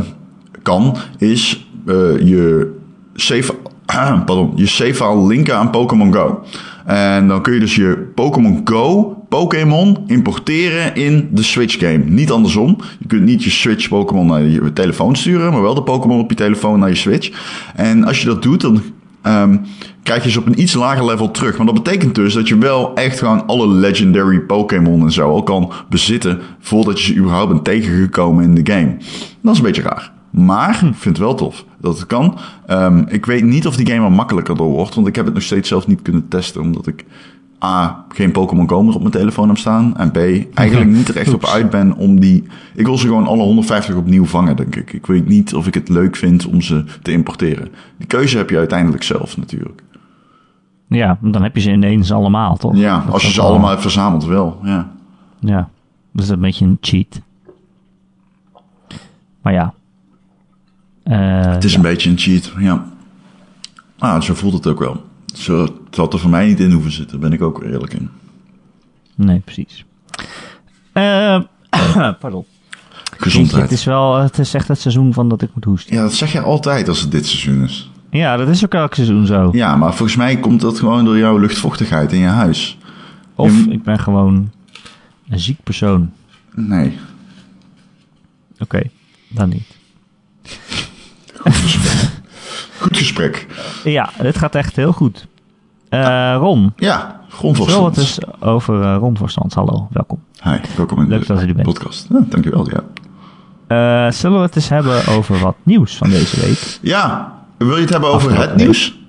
Speaker 2: kan, is eh, je save, <clears throat> pardon, je save file linken aan Pokémon Go. En dan kun je dus je Pokémon Go Pokémon importeren in de Switch game. Niet andersom. Je kunt niet je Switch Pokémon naar je telefoon sturen, maar wel de Pokémon op je telefoon naar je Switch. En als je dat doet, dan ehm, krijg je ze op een iets lager level terug. Maar dat betekent dus dat je wel echt gewoon alle legendary Pokémon en zo al kan bezitten voordat je ze überhaupt bent tegengekomen in de game. Dat is een beetje raar. Maar ik vind het wel tof dat het kan. Ehm, ik weet niet of die game er makkelijker door wordt. Want ik heb het nog steeds zelf niet kunnen testen. Omdat ik A. geen Pokémon Go meer op mijn telefoon heb staan. En B. eigenlijk niet er echt op uit ben om die. Ik wil ze gewoon alle 150 opnieuw vangen, denk ik. Ik weet niet of ik het leuk vind om ze te importeren. Die keuze heb je uiteindelijk zelf natuurlijk.
Speaker 1: Ja, dan heb je ze ineens allemaal, toch?
Speaker 2: Ja,
Speaker 1: Dat is
Speaker 2: als je
Speaker 1: ook
Speaker 2: ze
Speaker 1: wel-
Speaker 2: allemaal hebt verzameld, wel. Ja.
Speaker 1: Ja, dus dat is een beetje een cheat. Maar ja. Eh,
Speaker 2: Het is een beetje een cheat, ja. Ah, zo voelt het ook wel. Zo, het had er voor mij niet in hoeven zitten, daar ben ik ook eerlijk in.
Speaker 1: Nee, precies. Eh, <coughs> pardon. Jeetje, het
Speaker 2: Gezondheid.
Speaker 1: is wel, het is echt het seizoen van dat ik moet hoesten.
Speaker 2: Ja, dat zeg je altijd als het dit seizoen is.
Speaker 1: Ja, dat is ook elk seizoen zo.
Speaker 2: Ja, maar volgens mij komt dat gewoon door jouw luchtvochtigheid in je huis.
Speaker 1: Of
Speaker 2: Ja.
Speaker 1: ik ben gewoon een ziek persoon.
Speaker 2: Nee.
Speaker 1: Oké, dan niet.
Speaker 2: Goed gesprek.
Speaker 1: Ja, dit gaat echt heel goed. Eh Ron,
Speaker 2: Ja,
Speaker 1: vertel wat
Speaker 2: grondvoorstand.
Speaker 1: eens over eh Ron Verstand. Hallo, welkom.
Speaker 2: Hi, welkom in
Speaker 1: Leuk dat je
Speaker 2: de
Speaker 1: er bent.
Speaker 2: podcast. Ja, dankjewel, ja.
Speaker 1: Eh, zullen we het eens hebben over wat nieuws van deze week?
Speaker 2: Ja, wil je het hebben over
Speaker 1: Afgelopen
Speaker 2: het nieuws?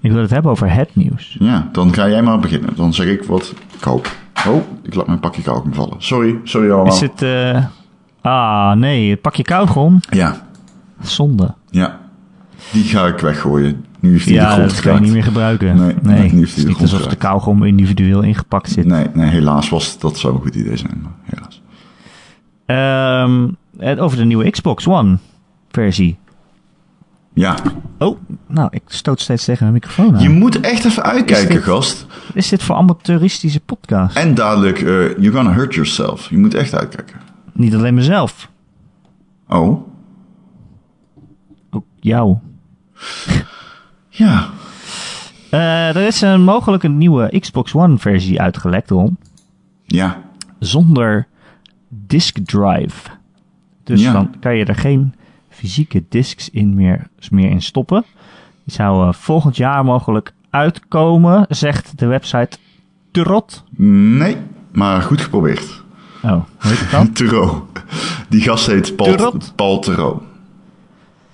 Speaker 1: Ik wil het hebben over het nieuws.
Speaker 2: Ja, dan ga jij maar beginnen. Dan zeg ik wat ik hoop. Oh, ik laat mijn pakje kalk vallen. Sorry, sorry allemaal.
Speaker 1: Is het... eh, ah, nee, het pakje koud, Ron.
Speaker 2: Ja,
Speaker 1: Zonde.
Speaker 2: ja. Die ga ik weggooien. Nu is die de
Speaker 1: Ja,
Speaker 2: grond
Speaker 1: dat kan je
Speaker 2: geraakt.
Speaker 1: niet meer gebruiken.
Speaker 2: Nee,
Speaker 1: Nee,
Speaker 2: nee, niet
Speaker 1: het is
Speaker 2: die
Speaker 1: niet
Speaker 2: grond
Speaker 1: alsof de
Speaker 2: raakt.
Speaker 1: kauwgom individueel ingepakt zit.
Speaker 2: Nee, nee, helaas was dat zou een goed idee zijn. maar Helaas.
Speaker 1: Ehm, en over de nieuwe Xbox One versie.
Speaker 2: Ja,
Speaker 1: Oh, nou, ik stoot steeds tegen mijn microfoon aan.
Speaker 2: je moet echt even
Speaker 1: Is
Speaker 2: uitkijken,
Speaker 1: dit-
Speaker 2: gast.
Speaker 1: Is dit voor amateuristische podcast?
Speaker 2: En dadelijk, eh you're gonna hurt yourself. Je moet echt uitkijken.
Speaker 1: Niet alleen mezelf,
Speaker 2: Oh,
Speaker 1: ook jou.
Speaker 2: ja.
Speaker 1: Eh, er is een mogelijke nieuwe Xbox One versie uitgelekt, Ron.
Speaker 2: Ja,
Speaker 1: Zonder disk drive. Dus
Speaker 2: Ja.
Speaker 1: dan kan je er geen fysieke discs in meer, meer in stoppen. Die zou eh, volgend jaar mogelijk uitkomen, zegt de website Turot.
Speaker 2: nee, maar goed geprobeerd.
Speaker 1: Oh, weet ik
Speaker 2: <laughs>
Speaker 1: dat?
Speaker 2: Turo. Die gast heet Paul,
Speaker 1: Turot?
Speaker 2: Paul Turo.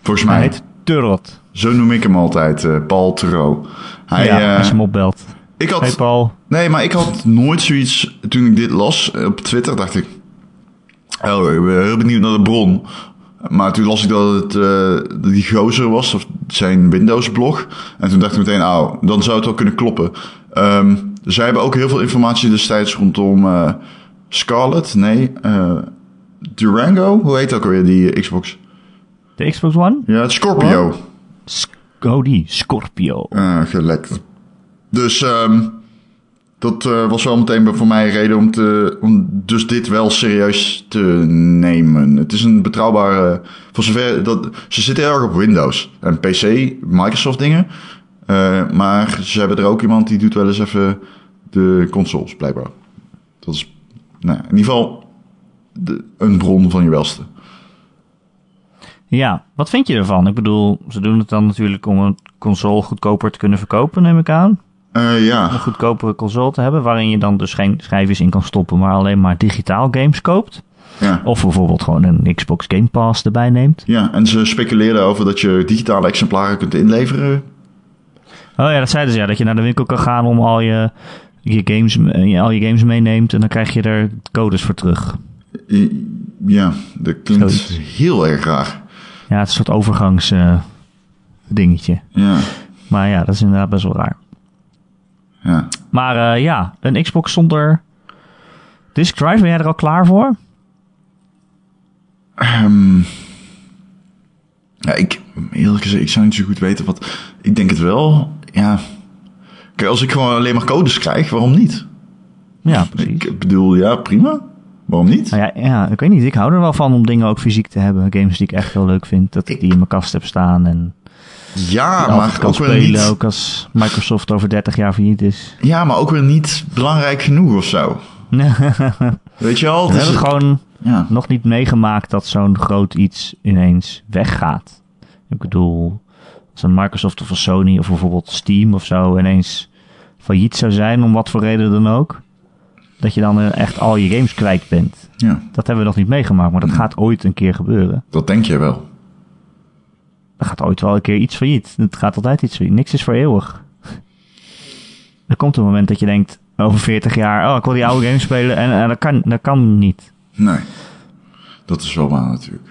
Speaker 2: Volgens
Speaker 1: Hij
Speaker 2: mij.
Speaker 1: heet Turot.
Speaker 2: Zo noem ik hem altijd, eh, Paul Turo. Hij,
Speaker 1: ja,
Speaker 2: eh,
Speaker 1: als je hem opbelt.
Speaker 2: ik
Speaker 1: Hey
Speaker 2: had,
Speaker 1: Paul.
Speaker 2: nee, maar ik had nooit zoiets. Toen ik dit las eh, op Twitter, dacht ik. Oh, ik ben heel benieuwd naar de bron. Maar toen las ik dat het eh, dat die gozer was, of zijn Windows-blog. En toen dacht ik meteen, oh, dan zou het wel kunnen kloppen. Ehm, zij hebben ook heel veel informatie destijds rondom eh, Scarlet. Nee, eh, Durango? Hoe heet ook alweer die eh, Xbox?
Speaker 1: De Xbox One?
Speaker 2: Ja, het Scorpio.
Speaker 1: Sc- oh, die Scorpio.
Speaker 2: eh gelekt. Dus ehm, dat eh, was wel meteen voor mij een reden om, te, om dus dit wel serieus te nemen. Het is een betrouwbare... Voor zover dat, ze zitten heel erg op Windows en PC, Microsoft dingen. Eh, maar ze hebben er ook iemand die doet wel eens even de consoles, blijkbaar. Dat is nou, ja, in ieder geval de, een bron van je welste.
Speaker 1: Ja, wat vind je ervan? Ik bedoel, ze doen het dan natuurlijk om een console goedkoper te kunnen verkopen, neem ik aan.
Speaker 2: Eh, ja.
Speaker 1: Een goedkopere console te hebben, waarin je dan dus geen schijfjes in kan stoppen, maar alleen maar digitaal games koopt.
Speaker 2: ja.
Speaker 1: Of bijvoorbeeld gewoon een Xbox Game Pass erbij neemt.
Speaker 2: Ja, en ze speculeerden over dat je digitale exemplaren kunt inleveren
Speaker 1: Oh ja, dat zeiden ze ja, dat je naar de winkel kan gaan om al je, je, games, eh, al je games meeneemt en dan krijg je er codes voor terug.
Speaker 2: I- Ja, dat klinkt
Speaker 1: Zoiets.
Speaker 2: heel erg raar.
Speaker 1: Ja, het is een soort overgangs eh, dingetje.
Speaker 2: Ja,
Speaker 1: Maar ja, dat is inderdaad best wel raar.
Speaker 2: ja.
Speaker 1: Maar eh, ja, een Xbox zonder disk drive, ben jij er al klaar voor?
Speaker 2: ja ik, eerlijk gezegd, ik zou niet zo goed weten wat... Ik denk het wel, ja... Kijk, als ik gewoon alleen maar codes krijg, waarom niet?
Speaker 1: Ja, precies.
Speaker 2: Ik bedoel, ja, prima. Waarom niet?
Speaker 1: Nou ja, ja, ik weet niet. Ik hou er wel van om dingen ook fysiek te hebben. Games die ik echt heel leuk vind. Dat ik die in mijn kast heb staan. En
Speaker 2: Ja,
Speaker 1: altijd
Speaker 2: Ah, maar
Speaker 1: kan
Speaker 2: ook weer
Speaker 1: spelen.
Speaker 2: niet...
Speaker 1: Ook als Microsoft over 30 jaar failliet is. <laughs>
Speaker 2: Ja, maar ook weer niet belangrijk genoeg of zo.
Speaker 1: We hebben
Speaker 2: Weet je wel? Het is-
Speaker 1: het gewoon
Speaker 2: ja.
Speaker 1: nog niet meegemaakt dat zo'n groot iets ineens weggaat. Ik bedoel, als een Microsoft of een Sony of bijvoorbeeld Steam of zo ineens failliet zou zijn, om wat voor reden dan ook, dat je dan eh, echt al je games kwijt bent.
Speaker 2: ja, Hmm.
Speaker 1: Dat hebben we nog niet meegemaakt, maar dat gaat ooit een keer gebeuren.
Speaker 2: dat denk je wel.
Speaker 1: Er gaat ooit wel een keer iets failliet. Het gaat altijd iets failliet. Niks is voor eeuwig. <laughs> Er komt een moment dat je denkt, over 40 jaar, oh, ik wil die oude games spelen. En, en dat, kan, dat kan niet.
Speaker 2: Nee. Dat is wel waar natuurlijk.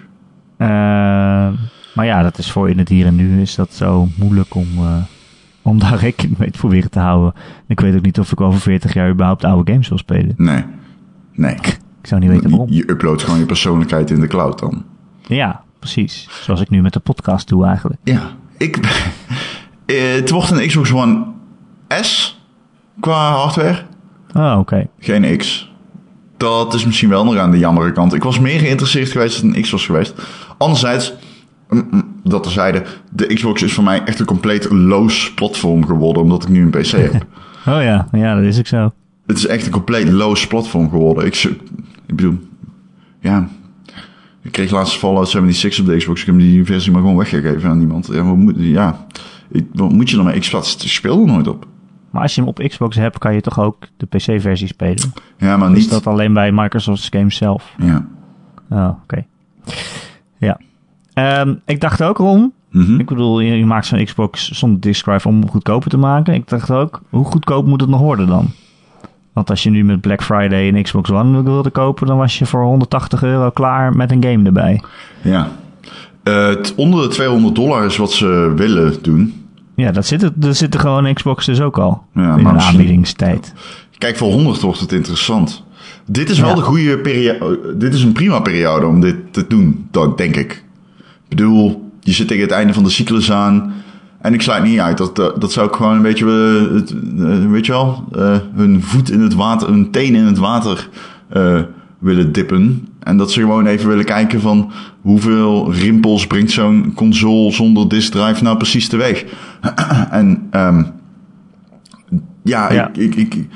Speaker 1: Ehm, maar ja, dat is voor in het hier en nu is dat zo moeilijk om, eh, om daar <laughs> rekening mee te proberen te houden. En Ik weet ook niet of ik over 40 jaar überhaupt oude games wil spelen.
Speaker 2: Nee. Nee.
Speaker 1: Ik zou niet weten waarom.
Speaker 2: Je uploadt gewoon je persoonlijkheid in de cloud dan.
Speaker 1: Ja, precies. Zoals ik nu met de podcast doe eigenlijk.
Speaker 2: Ja. Ik, <laughs> Eh, het wordt een Xbox One S qua hardware.
Speaker 1: Oh, oké.
Speaker 2: Geen X. Dat is misschien wel nog aan de jammere kant. Ik was meer geïnteresseerd geweest dan een X was geweest. Anderzijds, mm, mm, dat terzijde, de Xbox is voor mij echt een compleet loos platform geworden, omdat ik nu een PC heb.
Speaker 1: Oh ja, ja, dat is ook zo.
Speaker 2: Het is echt een compleet loos platform geworden. Ik, zo- ik bedoel, ja. Ik kreeg laatst Fallout 76 op de Xbox. Ik heb die versie maar gewoon weggegeven aan iemand. Ja, wat moet, ja. Ik- wat moet je dan met Xbox? Ik speel er nooit op.
Speaker 1: Maar als je hem op Xbox hebt, kan je toch ook de PC-versie spelen?
Speaker 2: Ja, maar
Speaker 1: Is
Speaker 2: niet.
Speaker 1: dat alleen bij Microsoft's games zelf?
Speaker 2: Ja.
Speaker 1: Oh, oké. Ja. Ehm, ik dacht ook erom.
Speaker 2: Mhm.
Speaker 1: Ik bedoel, je, je maakt zo'n Xbox zonder disk drive om hem goedkoper te maken. Ik dacht ook, hoe goedkoop moet het nog worden dan? Want als je nu met Black Friday een Xbox One wilde kopen, dan was je voor 180 euro klaar met een game erbij.
Speaker 2: ja. Eh, het onder de 200 dollar is wat ze willen doen.
Speaker 1: Ja, dat zit, er, er zitten gewoon Xbox dus ook al.
Speaker 2: Ja,
Speaker 1: in
Speaker 2: maar
Speaker 1: een
Speaker 2: misschien-
Speaker 1: aanbiedingstijd.
Speaker 2: Kijk, voor 100 wordt het interessant. Dit is wel
Speaker 1: Ja.
Speaker 2: de goede periode. Dit is een prima periode om dit te doen, dan, denk ik. Ik bedoel, je zit tegen het einde van de cyclus aan. En ik sluit niet uit dat, eh, dat zou ik gewoon een beetje, eh, het, eh, weet je wel, eh, hun voet in het water, hun teen in het water eh, willen dippen. En dat ze gewoon even willen kijken van hoeveel rimpels brengt zo'n console zonder disk drive nou precies teweeg. en ehm, ja,
Speaker 1: Ja.
Speaker 2: Ik, ik, ik,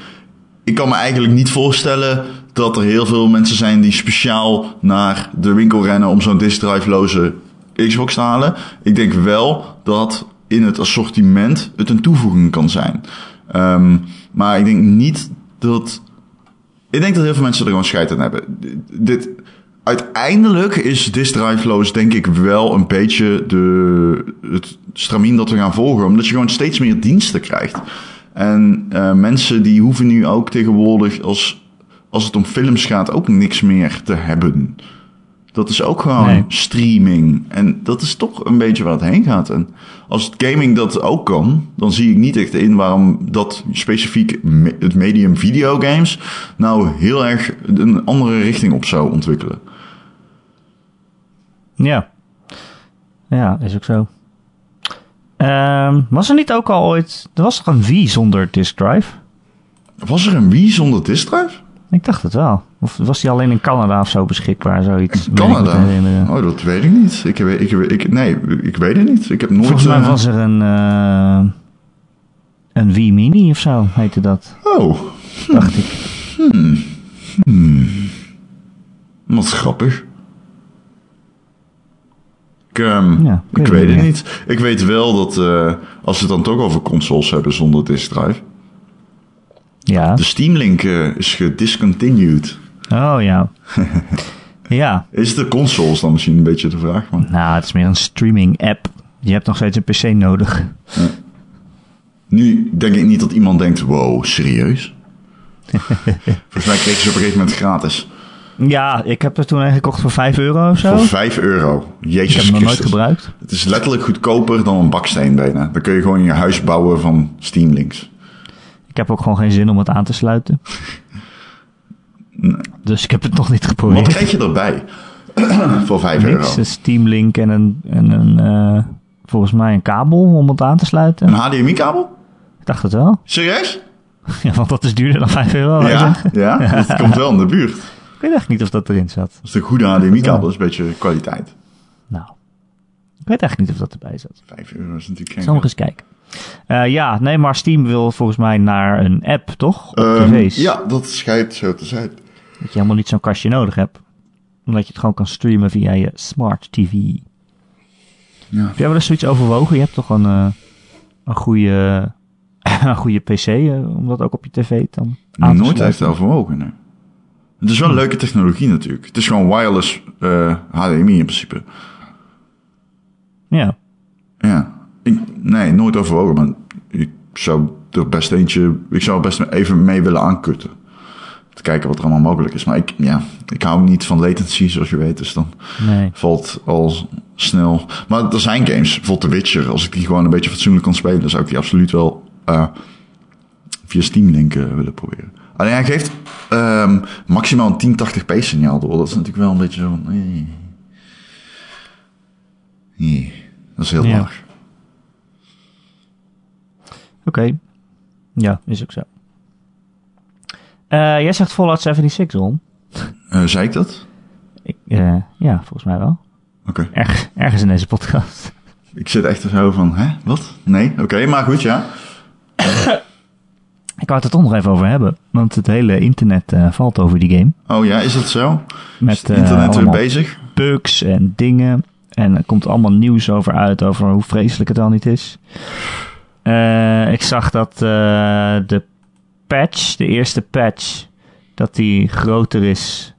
Speaker 2: ik kan me eigenlijk niet voorstellen dat er heel veel mensen zijn die speciaal naar de winkel rennen om zo'n disk drive-loze Xbox te halen. Ik denk wel dat in het assortiment het een toevoeging kan zijn. Ehm, maar ik denk niet dat. Ik denk dat heel veel mensen er gewoon scheid aan hebben. Dit- Dit, uiteindelijk is disk drive-loos denk ik wel een beetje de, het stramien dat we gaan volgen. Omdat je gewoon steeds meer diensten krijgt. En eh, mensen die hoeven nu ook tegenwoordig als, als het om films gaat ook niks meer te hebben. Dat is ook gewoon
Speaker 1: Nee.
Speaker 2: streaming. En dat is toch een beetje waar het heen gaat. En als het gaming dat ook kan, dan zie ik niet echt in waarom dat specifiek me- het medium videogames nou heel erg een andere richting op zou ontwikkelen.
Speaker 1: Ja. Ja, is ook zo. Ehm, was er niet ook al ooit... Er was toch een Wii zonder disk drive?
Speaker 2: Was er een Wii zonder disk drive?
Speaker 1: Ik dacht het wel. Of was die alleen in Canada of zo beschikbaar, zoiets? Meen ik me te
Speaker 2: Canada?
Speaker 1: herinneren.
Speaker 2: Oh, dat weet ik niet. Ik, heb- ik, heb- ik, nee, ik weet het niet. Ik heb nooit...
Speaker 1: Volgens mij
Speaker 2: eh,
Speaker 1: was er een... eh, een Wii Mini of zo heette dat,
Speaker 2: Oh,
Speaker 1: dacht ik.
Speaker 2: wat grappig. Ik, ehm,
Speaker 1: Ja,
Speaker 2: ik weet het niet. Ik weet wel dat eh, als we het dan toch over consoles hebben zonder disk drive.
Speaker 1: Ja.
Speaker 2: De Steam Link eh, is gediscontinued.
Speaker 1: Oh
Speaker 2: <laughs>
Speaker 1: ja. ja.
Speaker 2: Is de consoles dan misschien een beetje de vraag? Maar,
Speaker 1: Nou, het is meer een streaming app. Je hebt nog steeds een PC nodig.
Speaker 2: nu denk ik niet dat iemand denkt,
Speaker 1: <laughs>
Speaker 2: wow, serieus? Volgens mij kregen ze op een gegeven moment gratis.
Speaker 1: Ja, ik heb er toen een gekocht voor 5 euro of zo.
Speaker 2: Voor 5 euro.
Speaker 1: Oh. Ik heb
Speaker 2: Jezus
Speaker 1: hem nog nooit
Speaker 2: Christus.
Speaker 1: gebruikt.
Speaker 2: Het is letterlijk goedkoper dan een baksteen bijna. Dan kun je gewoon je huis bouwen van Steam Links.
Speaker 1: Ik heb ook gewoon geen zin om het aan te sluiten. Dus ik heb het nog niet
Speaker 2: Wat
Speaker 1: geprobeerd.
Speaker 2: krijg je erbij? <clears throat> voor 5 euro.
Speaker 1: Niks, een Steam Link en een, en een eh, volgens mij een kabel om het aan te sluiten.
Speaker 2: Een HDMI-kabel?
Speaker 1: Ik dacht het wel. <laughs>
Speaker 2: Serieus?
Speaker 1: Ja, want dat is duurder dan 5 euro. wou je
Speaker 2: Oh, Ja,
Speaker 1: zeggen.
Speaker 2: <laughs> ja, dat komt wel in de buurt. Dat
Speaker 1: Ik weet echt niet of dat erin zat.
Speaker 2: is de goede HDMI-kabel, dat is een beetje kwaliteit.
Speaker 1: Nou, ik weet echt niet of dat erbij zat.
Speaker 2: 5 euro is natuurlijk
Speaker 1: Ik
Speaker 2: geen...
Speaker 1: zal nog eens kijken. Eh, ja, nee, maar Steam wil volgens mij naar een app, toch? Op
Speaker 2: Ehm,
Speaker 1: tv's.
Speaker 2: ja, dat schijnt zo te zijn.
Speaker 1: Dat je helemaal niet zo'n kastje nodig hebt. Omdat je het gewoon kan streamen via je smart TV.
Speaker 2: Ja.
Speaker 1: Heb jij wel eens zoiets overwogen? Je hebt toch een, eh, een, goede, <laughs> een goede PC eh, om dat ook op je TV dan aan te
Speaker 2: Nooit
Speaker 1: sluiten?
Speaker 2: heeft overwogen, nee. Het is wel een leuke technologie natuurlijk. Het is gewoon wireless eh, HDMI in principe.
Speaker 1: Ja.
Speaker 2: Ja. Ik, nee, nooit overwogen, maar ik zou er best eentje... Ik zou er best even mee willen aankutten. Te kijken wat er allemaal mogelijk is. Maar ik, ja, ik hou niet van latency, zoals je weet. Dus dan
Speaker 1: Nee.
Speaker 2: valt al snel... Maar er zijn games, bijvoorbeeld The Witcher. Als ik die gewoon een beetje fatsoenlijk kon spelen... dan zou ik die absoluut wel eh, via Steam Link eh, willen proberen. Alleen hij geeft ehm, maximaal een 1080p signaal door. Dat is natuurlijk wel een beetje zo van... eh. Nee, dat is heel
Speaker 1: Ja.
Speaker 2: laag.
Speaker 1: Oké. Ja, is ook zo. Eh, jij zegt Fallout 76, Ron.
Speaker 2: Eh, zei ik dat?
Speaker 1: Ik, eh, ja, volgens mij wel.
Speaker 2: Oké.
Speaker 1: Erg, ergens in deze podcast. <laughs>
Speaker 2: Ik zit echt zo van, hè? Wat? Nee? Oké, maar goed, ja.
Speaker 1: Ik wou het er toch nog even over hebben. Want het hele internet eh, valt over die game.
Speaker 2: Oh ja, is dat zo?
Speaker 1: Met
Speaker 2: is het
Speaker 1: eh,
Speaker 2: internet weer
Speaker 1: allemaal
Speaker 2: bezig?
Speaker 1: bugs en dingen. En er komt allemaal nieuws over uit, over hoe vreselijk het al niet is. Eh, ik zag dat eh, de patch, de eerste patch, dat die groter is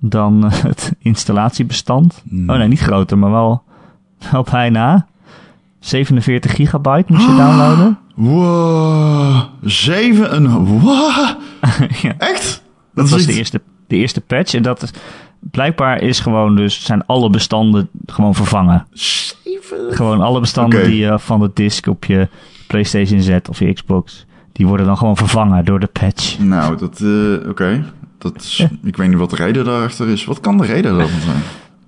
Speaker 1: dan <laughs> eh, het installatiebestand. Oh nee, niet groter, maar wel, wel bijna. 47 gigabyte moest je <gasps> downloaden.
Speaker 2: Wow. Zeven en... Wow.
Speaker 1: <laughs> ja.
Speaker 2: Echt?
Speaker 1: Dat was
Speaker 2: is
Speaker 1: de
Speaker 2: iets-
Speaker 1: eerste, de eerste patch. En dat is, blijkbaar is gewoon dus, zijn alle bestanden gewoon vervangen.
Speaker 2: Zeven.
Speaker 1: Gewoon alle bestanden
Speaker 2: Oké.
Speaker 1: die je van de disk op je PlayStation zet of je Xbox, die worden dan gewoon vervangen door de patch.
Speaker 2: Nou, dat... eh, Oké. Dat is... Ik weet niet wat de reden daarachter is. Wat kan de reden daarvan zijn?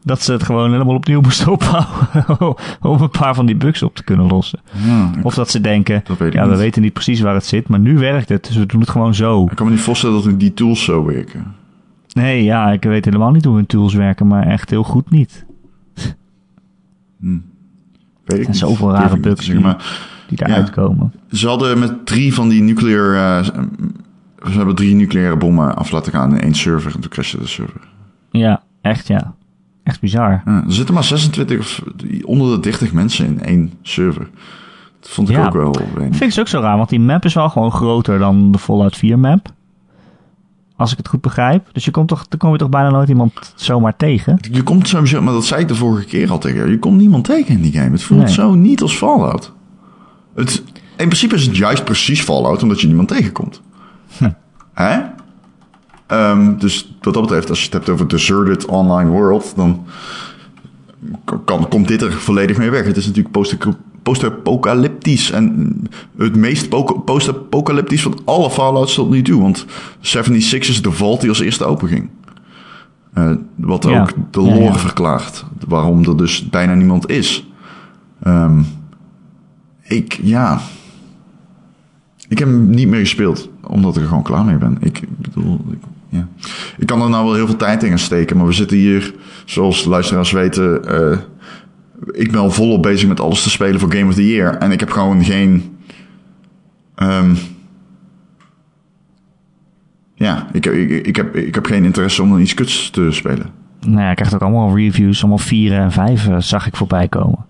Speaker 1: Dat ze het gewoon helemaal opnieuw <laughs> moesten opbouwen om een paar van die bugs op te kunnen lossen.
Speaker 2: Ja, ik-
Speaker 1: Of dat ze denken,
Speaker 2: Dat weet ik
Speaker 1: ja, we
Speaker 2: niet.
Speaker 1: weten niet precies waar het zit, maar nu werkt het, dus we doen het gewoon zo.
Speaker 2: ik kan me niet voorstellen dat die tools zo werken.
Speaker 1: Nee, ja, ik weet helemaal niet hoe hun tools werken, maar echt heel goed niet.
Speaker 2: Weet ik
Speaker 1: zijn
Speaker 2: niet.
Speaker 1: zoveel
Speaker 2: Durf
Speaker 1: rare
Speaker 2: ik niet te
Speaker 1: bugs
Speaker 2: zeggen,
Speaker 1: die-
Speaker 2: maar
Speaker 1: Die daaruit
Speaker 2: Ja.
Speaker 1: komen.
Speaker 2: Ze hadden met drie van die nucleair... eh, ze hebben drie nucleaire bommen af laten gaan in één server. En toen crashte de server.
Speaker 1: Ja, echt ja. Echt bizar.
Speaker 2: Ja, er zitten maar 26 of onder de 30 mensen in één server. Dat vond ik
Speaker 1: Ja.
Speaker 2: ook wel
Speaker 1: Dat
Speaker 2: weinig.
Speaker 1: vind ik dus ook zo raar, want die map is wel gewoon groter dan de Fallout 4 map. Als ik het goed begrijp. Dus je komt toch, dan kom je toch bijna nooit iemand zomaar tegen.
Speaker 2: Je komt sowieso, maar dat zei ik de vorige keer al tegen jou. Je komt niemand tegen in die game. Het voelt
Speaker 1: Nee.
Speaker 2: zo niet als Fallout. Het, in principe is het juist precies Fallout, omdat je niemand tegenkomt.
Speaker 1: Hm.
Speaker 2: Hè? Ehm, dus wat dat betreft, als je het hebt over deserted online world, dan kan- kan, komt dit er volledig mee weg. Het is natuurlijk post- post-apocalyptisch. En het meest po- post-apocalyptisch van alle Fallouts tot nu toe. Want 76 is de vault die als eerste openging. Eh, wat
Speaker 1: Ja.
Speaker 2: ook de
Speaker 1: Ja,
Speaker 2: lore
Speaker 1: ja.
Speaker 2: verklaart. Waarom er dus bijna niemand is. Ehm, ik, ja. Ik heb hem niet meer gespeeld. Omdat ik er gewoon klaar mee ben. Ik bedoel, ik, ja. Ik kan er nou wel heel veel tijd in gaan steken. Maar we zitten hier, zoals de luisteraars weten. eh, ik ben al volop bezig met alles te spelen voor Game of the Year. En ik heb gewoon geen. ehm, ja, ik, ik, ik, heb, ik heb geen interesse om dan iets kuts te spelen.
Speaker 1: Nou ja, ik krijg ook allemaal reviews, allemaal 4 en 5 zag ik voorbij komen.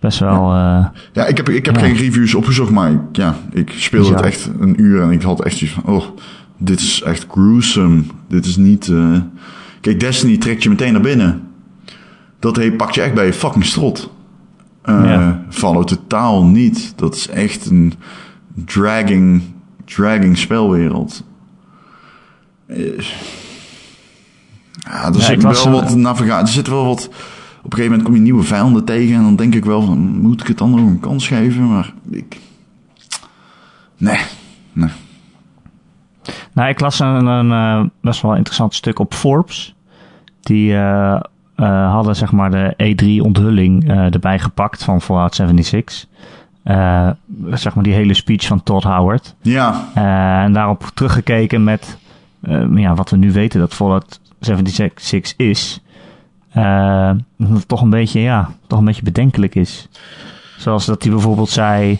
Speaker 1: Best wel. eh,
Speaker 2: Ja, ik heb, ik heb
Speaker 1: Ja.
Speaker 2: geen reviews opgezocht, maar ik- ja, ik speelde het
Speaker 1: Bizar.
Speaker 2: echt een uur en ik had echt zoiets van, oh, dit is echt gruesome. Dit is niet... eh, Kijk, Destiny trekt je meteen naar binnen. Dat he, pakt je echt bij je fucking strot. Eh
Speaker 1: Ja.
Speaker 2: Fallout totaal niet. Dat is echt een dragging, dragging spelwereld. Eh, Ja, er
Speaker 1: Ja,
Speaker 2: zit
Speaker 1: ik was,
Speaker 2: wel
Speaker 1: eh,
Speaker 2: wat navigatie. Er zit wel wat... Op een gegeven moment kom je nieuwe vijanden tegen en dan denk ik wel van, moet ik het dan nog een kans geven? Maar ik... Nee, nee.
Speaker 1: Nou, ik las een, een eh, best wel interessant stuk op Forbes. Die eh, eh, hadden zeg maar de E E3-onthulling eh, erbij gepakt van Fallout 76. Eh, zeg maar die hele speech van Todd Howard.
Speaker 2: Ja,
Speaker 1: Eh, en daarop teruggekeken met eh, ja, wat we nu weten dat Fallout 76 is. Eh, dat het toch een beetje, ja, toch een beetje bedenkelijk is. Zoals dat hij bijvoorbeeld zei.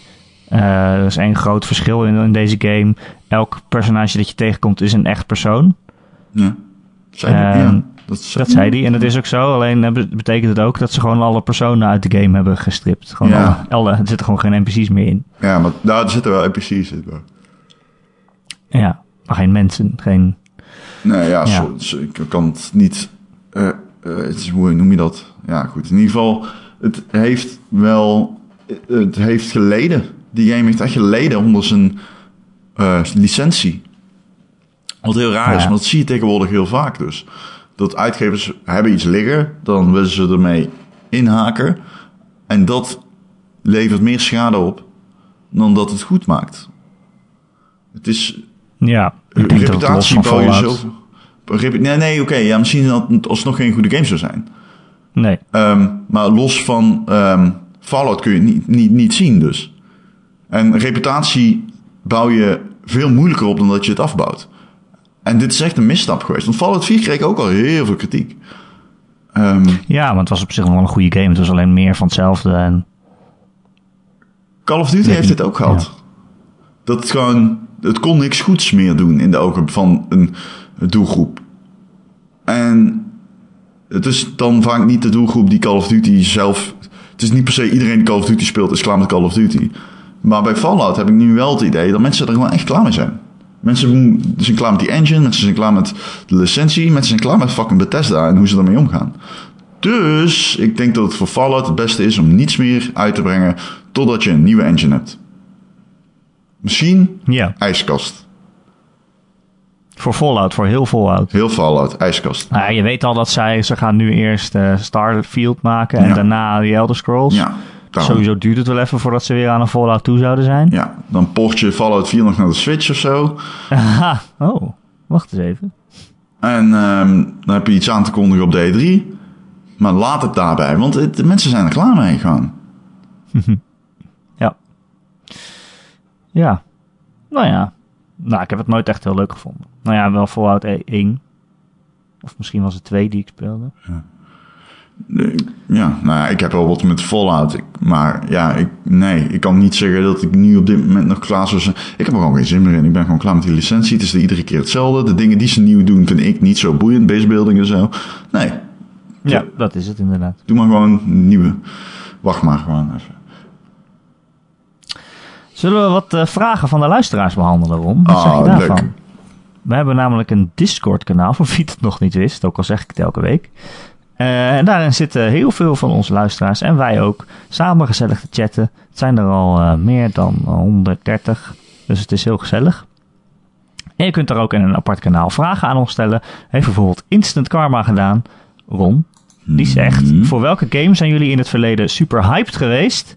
Speaker 1: eh er is één groot verschil in, in deze game. Elk personage dat je tegenkomt is een echt persoon.
Speaker 2: ja. Zei die-
Speaker 1: Ehm,
Speaker 2: ja, dat zei
Speaker 1: Dat zei hij. En dat is ook zo. Alleen eh, be- betekent het ook dat ze gewoon alle personen uit de game hebben gestript. Gewoon
Speaker 2: Ja.
Speaker 1: alle, alle- er zitten gewoon geen NPC's meer in.
Speaker 2: Ja, maar daar zitten wel NPC's in. hoor.
Speaker 1: Ja, maar geen mensen. Geen,
Speaker 2: Nee, ja,
Speaker 1: Ja.
Speaker 2: zo- zo- ik kan het niet... eh, eh, het is, hoe noem je dat? Ja, goed. In ieder geval, het heeft wel, eh, het heeft geleden. Die game heeft echt geleden onder zijn eh, licentie. Wat heel raar is,
Speaker 1: Ja.
Speaker 2: want dat zie je tegenwoordig heel vaak dus. Dat uitgevers hebben iets liggen, dan willen ze ermee inhaken. En dat levert meer schade op dan dat het goed maakt. Het is,
Speaker 1: Ja, ik denk dat het los
Speaker 2: reputatie
Speaker 1: van
Speaker 2: bouw je
Speaker 1: Fallout...
Speaker 2: zo. Repu- nee, nee, oké. ja, misschien dat het alsnog geen goede game zou zijn.
Speaker 1: Nee,
Speaker 2: Ehm, maar los van ehm, Fallout kun je het niet, niet, niet zien dus. En reputatie bouw je veel moeilijker op dan dat je het afbouwt. En dit is echt een misstap geweest. Want Fallout 4 kreeg ook al heel veel kritiek. Ehm,
Speaker 1: ja, maar het was op zich nog wel een goede game. Het was alleen meer van hetzelfde. En,
Speaker 2: Call of Duty heeft dit ook gehad. Dat het gewoon, het kon niks goeds meer doen in de ogen van een doelgroep. En het is dan vaak niet de doelgroep die Call of Duty zelf. Het is niet per se iedereen die Call of Duty speelt is klaar met Call of Duty. Maar bij Fallout heb ik nu wel het idee dat mensen er gewoon echt klaar mee zijn. Mensen zijn klaar met die engine, mensen zijn klaar met de licentie, mensen zijn klaar met fucking Bethesda en hoe ze daarmee omgaan. Dus ik denk dat het voor Fallout het beste is om niets meer uit te brengen totdat je een nieuwe engine hebt. Misschien
Speaker 1: ja,
Speaker 2: ijskast.
Speaker 1: voor Fallout, voor heel Fallout.
Speaker 2: Heel Fallout, ijskast.
Speaker 1: Nou, je weet al dat zij, ze gaan nu eerst eh, Starfield maken en
Speaker 2: Ja.
Speaker 1: daarna die Elder Scrolls.
Speaker 2: Ja, daarom.
Speaker 1: Sowieso duurt het wel even voordat ze weer aan een Fallout toe zouden zijn.
Speaker 2: Ja, dan port je Fallout 4 nog naar de Switch of zo.
Speaker 1: Aha, oh, wacht eens even.
Speaker 2: En ehm, dan heb je iets aan te kondigen op de E3. Maar laat het daarbij, want het- de mensen zijn er klaar mee gegaan.
Speaker 1: Ja. Ja. Nou ja. Nou, ik heb het nooit echt heel leuk gevonden. Nou ja, wel Fallout 1. Of misschien was het 2 die ik speelde.
Speaker 2: Eh, Ja, nou ja, ik heb wel wat met Fallout. Ik, maar ja, ik, nee, ik kan niet zeggen dat ik nu op dit moment nog klaar zou zijn. Ik heb er gewoon geen zin meer in. Ik ben gewoon klaar met die licentie. Het is iedere keer hetzelfde. De dingen die ze nieuw doen vind ik niet zo boeiend. Basebuilding en zo. Nee,
Speaker 1: Ja, dat is het inderdaad.
Speaker 2: doe maar gewoon een nieuwe. Wacht maar gewoon even.
Speaker 1: Zullen we wat eh, vragen van de luisteraars behandelen, Ron? Wat zeg je
Speaker 2: Ah,
Speaker 1: daarvan?
Speaker 2: leuk.
Speaker 1: We hebben namelijk een Discord-kanaal, voor wie het nog niet wist, ook al zeg ik het elke week. Eh, en daarin zitten heel veel van onze luisteraars en wij ook samen gezellig te chatten. Het zijn er al eh, meer dan 130, dus het is heel gezellig. En je kunt daar ook in een apart kanaal vragen aan ons stellen. Heeft bijvoorbeeld Instant Karma gedaan, Ron. Die zegt, voor welke game zijn jullie in het verleden super hyped geweest?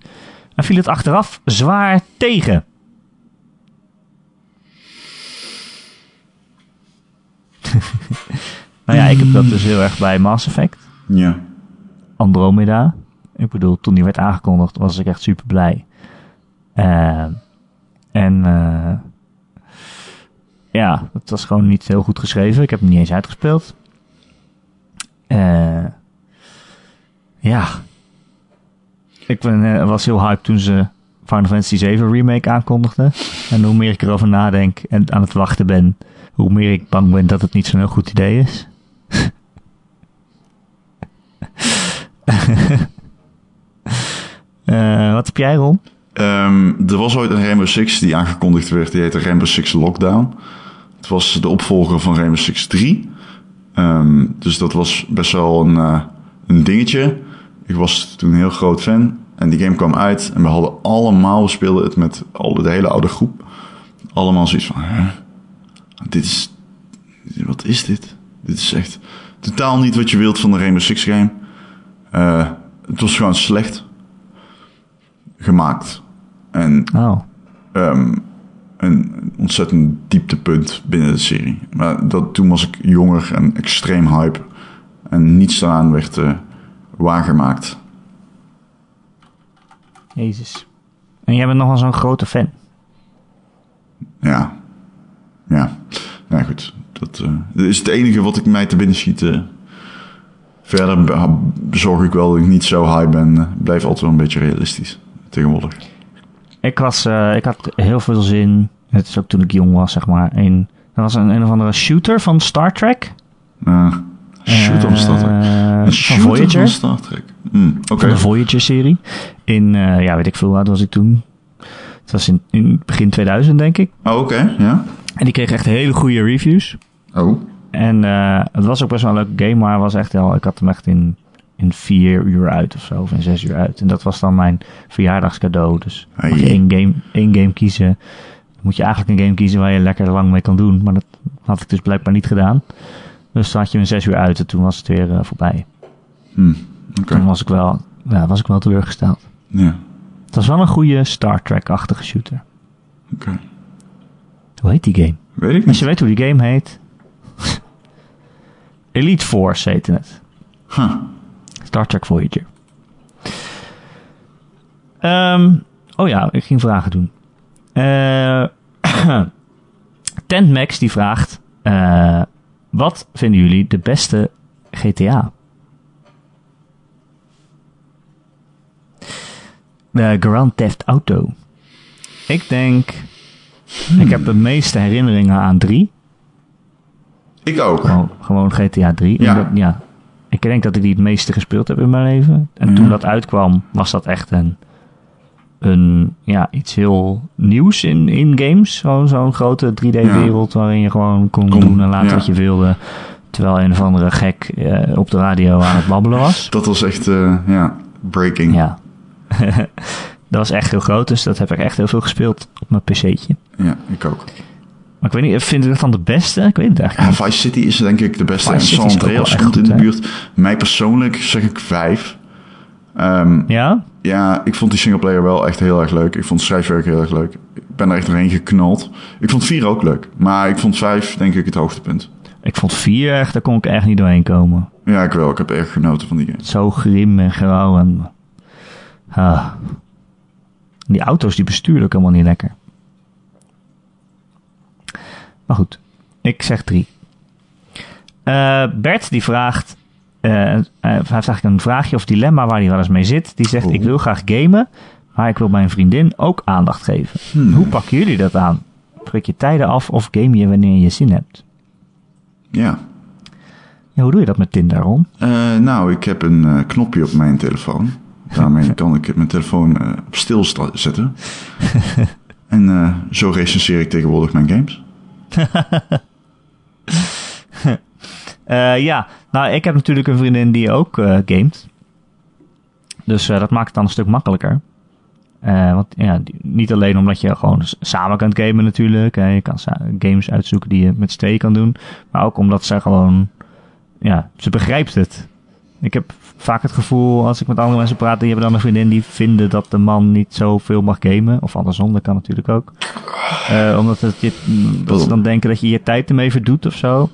Speaker 1: En viel het achteraf zwaar tegen? nou ja, ik heb dat dus heel erg bij Mass Effect.
Speaker 2: Ja.
Speaker 1: Andromeda. Ik bedoel, toen die werd aangekondigd was ik echt super blij. Eh, en eh, ja, het was gewoon niet heel goed geschreven. Ik heb hem niet eens uitgespeeld. Eh, ja. Ik ben, eh, was heel hyped toen ze Final Fantasy VII Remake aankondigden. En hoe meer ik erover nadenk en aan het wachten ben, hoe meer ik bang ben dat het niet zo'n heel goed idee is. Eh, wat heb jij, Ron?
Speaker 2: Ehm, er was ooit een Rainbow Six die aangekondigd werd. Die heette Rainbow Six Lockdown. Het was de opvolger van Rainbow Six 3. Ehm, dus dat was best wel een, eh, een dingetje. Ik was toen een heel groot fan. En die game kwam uit. En we hadden allemaal, we speelden het met al, de hele oude groep. Allemaal zoiets van, hè? Dit is, dit- wat is dit? Dit is echt totaal niet wat je wilt van de Rainbow Six game. Eh, het was gewoon slecht gemaakt. En
Speaker 1: Oh,
Speaker 2: ehm, een ontzettend dieptepunt binnen de serie. Maar dat, toen was ik jonger en extreem hype. En niets daaraan werd eh, waargemaakt.
Speaker 1: jezus. En jij bent nogal zo'n grote fan.
Speaker 2: Ja. Ja. Nou goed. Dat eh, dat is het enige wat ik mij te binnen schiet. eh. Verder be- zorg ik wel dat ik niet zo high ben. Eh, Blijf altijd wel een beetje realistisch. Tegenwoordig.
Speaker 1: Ik, was, eh, ik had heel veel zin, het is ook toen ik jong was, zeg maar, in... Er was een, een of andere shooter van Star Trek.
Speaker 2: Eh, shoot on Star Trek.
Speaker 1: Eh,
Speaker 2: Een
Speaker 1: van
Speaker 2: shooter van
Speaker 1: Voyager.
Speaker 2: Star Trek. Hm, Oké.
Speaker 1: Van de Voyager-serie. In, eh, ja, weet ik veel, hoe oud was ik toen? Het was in, in begin 2000, denk ik.
Speaker 2: Oh, oké. Ja.
Speaker 1: En die kreeg echt hele goede reviews.
Speaker 2: Oh.
Speaker 1: En eh, het was ook best wel een leuke game, maar was echt wel, ik had hem echt in in vier uur uit of zo, of in zes uur uit. En dat was dan mijn verjaardagscadeau. Dus
Speaker 2: Ai.
Speaker 1: mag je één game, één game kiezen. Dan moet je eigenlijk een game kiezen waar je lekker lang mee kan doen. Maar dat had ik dus blijkbaar niet gedaan. Dus toen had je hem zes uur uit en toen was het weer eh, voorbij.
Speaker 2: Hmm, Oké.
Speaker 1: Toen was ik, wel, ja, was ik wel teleurgesteld.
Speaker 2: Ja.
Speaker 1: Het was wel een goede Star Trek-achtige shooter.
Speaker 2: Oké.
Speaker 1: Hoe heet die game?
Speaker 2: Weet ik
Speaker 1: Als
Speaker 2: niet.
Speaker 1: je weet hoe die game heet. <laughs> Elite Force heette het.
Speaker 2: Huh.
Speaker 1: Star Trek Voyager. Ehm, oh ja, ik ging vragen doen. Eh, <clears throat> Tent Max die vraagt: eh, Wat vinden jullie de beste GTA? De Grand Theft Auto. Ik denk. Ik heb de meeste herinneringen aan 3.
Speaker 2: Ik ook.
Speaker 1: Gewoon, gewoon GTA 3.
Speaker 2: Ja.
Speaker 1: Ja. ja. Ik denk dat ik die het meeste gespeeld heb in mijn leven. En toen dat uitkwam, was dat echt een, een ja, iets heel nieuws in, in games. Gewoon zo'n grote 3D-wereld waarin je gewoon kon
Speaker 2: Kon,
Speaker 1: doen en laten
Speaker 2: ja.
Speaker 1: wat je wilde. Terwijl een of andere gek eh, op de radio aan het babbelen was.
Speaker 2: Dat was echt, eh, ja, breaking.
Speaker 1: Ja. <laughs> dat was echt heel groot, dus dat heb ik echt heel veel gespeeld op mijn pc'tje.
Speaker 2: Ja, ik ook.
Speaker 1: Maar ik weet niet, vind ik dat dan de beste? Ik weet het eigenlijk
Speaker 2: Ja, Vice City is denk ik de beste.
Speaker 1: Vice City
Speaker 2: en San
Speaker 1: is ook wel
Speaker 2: Andreas
Speaker 1: echt
Speaker 2: komt in
Speaker 1: goed,
Speaker 2: de
Speaker 1: hè?
Speaker 2: buurt. Mij persoonlijk zeg ik vijf. Ehm,
Speaker 1: niet. Ja?
Speaker 2: ja, ik vond die singleplayer wel echt heel erg leuk. Ik vond het schrijfwerk heel erg leuk. Ik ben er echt doorheen geknald. Ik vond vier ook leuk. Maar ik vond vijf denk ik het hoogtepunt.
Speaker 1: Ik vond 4 echt, daar kon ik echt niet doorheen komen.
Speaker 2: Ja, ik wel. Ik heb erg genoten van die game.
Speaker 1: zo grim en grauw en... Ah. Die auto's die bestuurden ook helemaal niet lekker. Maar goed, ik zeg drie. Eh, Bert die vraagt, eh, eh, hij heeft eigenlijk een vraagje of dilemma waar hij wel eens mee zit. Die zegt,
Speaker 2: Oeh.
Speaker 1: ik wil graag gamen, maar ik wil mijn vriendin ook aandacht geven. Hoe pakken jullie dat aan? Prik je tijden af of game je wanneer je zin hebt?
Speaker 2: Ja.
Speaker 1: Ja, hoe doe je dat met Tinder, Ron?
Speaker 2: Eh, nou, ik heb een eh, knopje op mijn telefoon. Daarmee kan ik mijn telefoon eh, op stil sta- zetten. en eh, zo recenseer ik tegenwoordig mijn games.
Speaker 1: Eh, ja, nou, ik heb natuurlijk een vriendin die ook eh, gamet. Dus eh, dat maakt het dan een stuk makkelijker. Eh, want ja, die- niet alleen omdat je gewoon s- samen kunt gamen natuurlijk. Hè, je kan sa- games uitzoeken die je met z'n tweeën kan doen. Maar ook omdat ze gewoon... Ja, ze begrijpt het. Ik heb vaak het gevoel, als ik met andere mensen praat... die hebben dan een vriendin die vinden dat de man niet zoveel mag gamen. Of andersom, dat kan natuurlijk ook. Eh, omdat het je, dat ze dan denken dat je je tijd ermee verdoet of zo.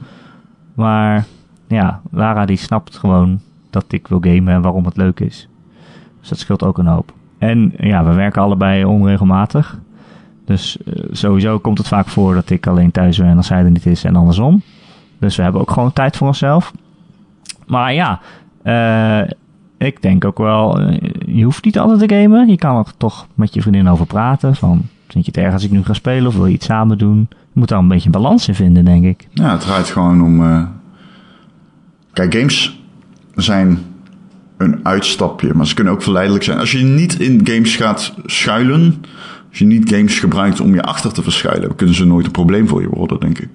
Speaker 1: Maar ja, Lara die snapt gewoon dat ik wil gamen en waarom het leuk is. Dus dat scheelt ook een hoop. En ja, we werken allebei onregelmatig. Dus eh, sowieso komt het vaak voor dat ik alleen thuis ben als zij er niet is en andersom. Dus we hebben ook gewoon tijd voor onszelf. Maar ja, eh, ik denk ook wel, eh, je hoeft niet altijd te gamen. Je kan er toch met je vriendin over praten. Van, vind je het erg als ik nu ga spelen of wil je iets samen doen? Je moet daar een beetje een balans in vinden, denk ik.
Speaker 2: Ja, het draait gewoon om... eh, Kijk, games zijn een uitstapje, maar ze kunnen ook verleidelijk zijn. Als je niet in games gaat schuilen... Als je niet games gebruikt om je achter te verschuilen... kunnen ze nooit een probleem voor je worden, denk ik.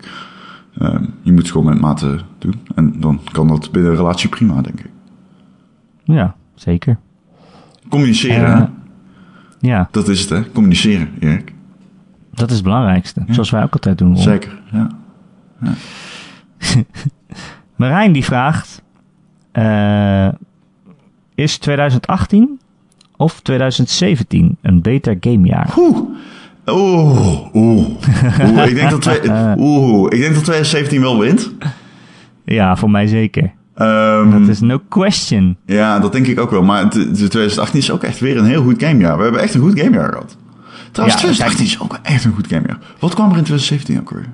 Speaker 2: Ehm, je moet het gewoon met mate doen. En dan kan dat binnen een relatie prima, denk ik.
Speaker 1: Ja, zeker.
Speaker 2: Communiceren,
Speaker 1: Eh,
Speaker 2: hè?
Speaker 1: Ja,
Speaker 2: Dat is het, hè? Communiceren, Erik.
Speaker 1: Oh. dat is het belangrijkste. Zoals wij ook altijd doen. Ron.
Speaker 2: Zeker, ja.
Speaker 1: Marijn die vraagt: eh, Is 2018 of 2017 een beter gamejaar?
Speaker 2: Oeh. Oeh, oeh. Oh, Oeh, ik denk
Speaker 1: <laughs>
Speaker 2: dat, twee- oeh, ik denk dat 2017 wel wint.
Speaker 1: Ja, voor mij zeker.
Speaker 2: Ehm,
Speaker 1: Dat is no question.
Speaker 2: Ja, dat denk ik ook wel. Maar het- het- 2018 is ook echt weer een heel goed gamejaar. We hebben echt een goed gamejaar gehad. Trouwens,
Speaker 1: Ja,
Speaker 2: 2018 is ook echt een goed gamejaar. Wat kwam er in 2017 ook weer?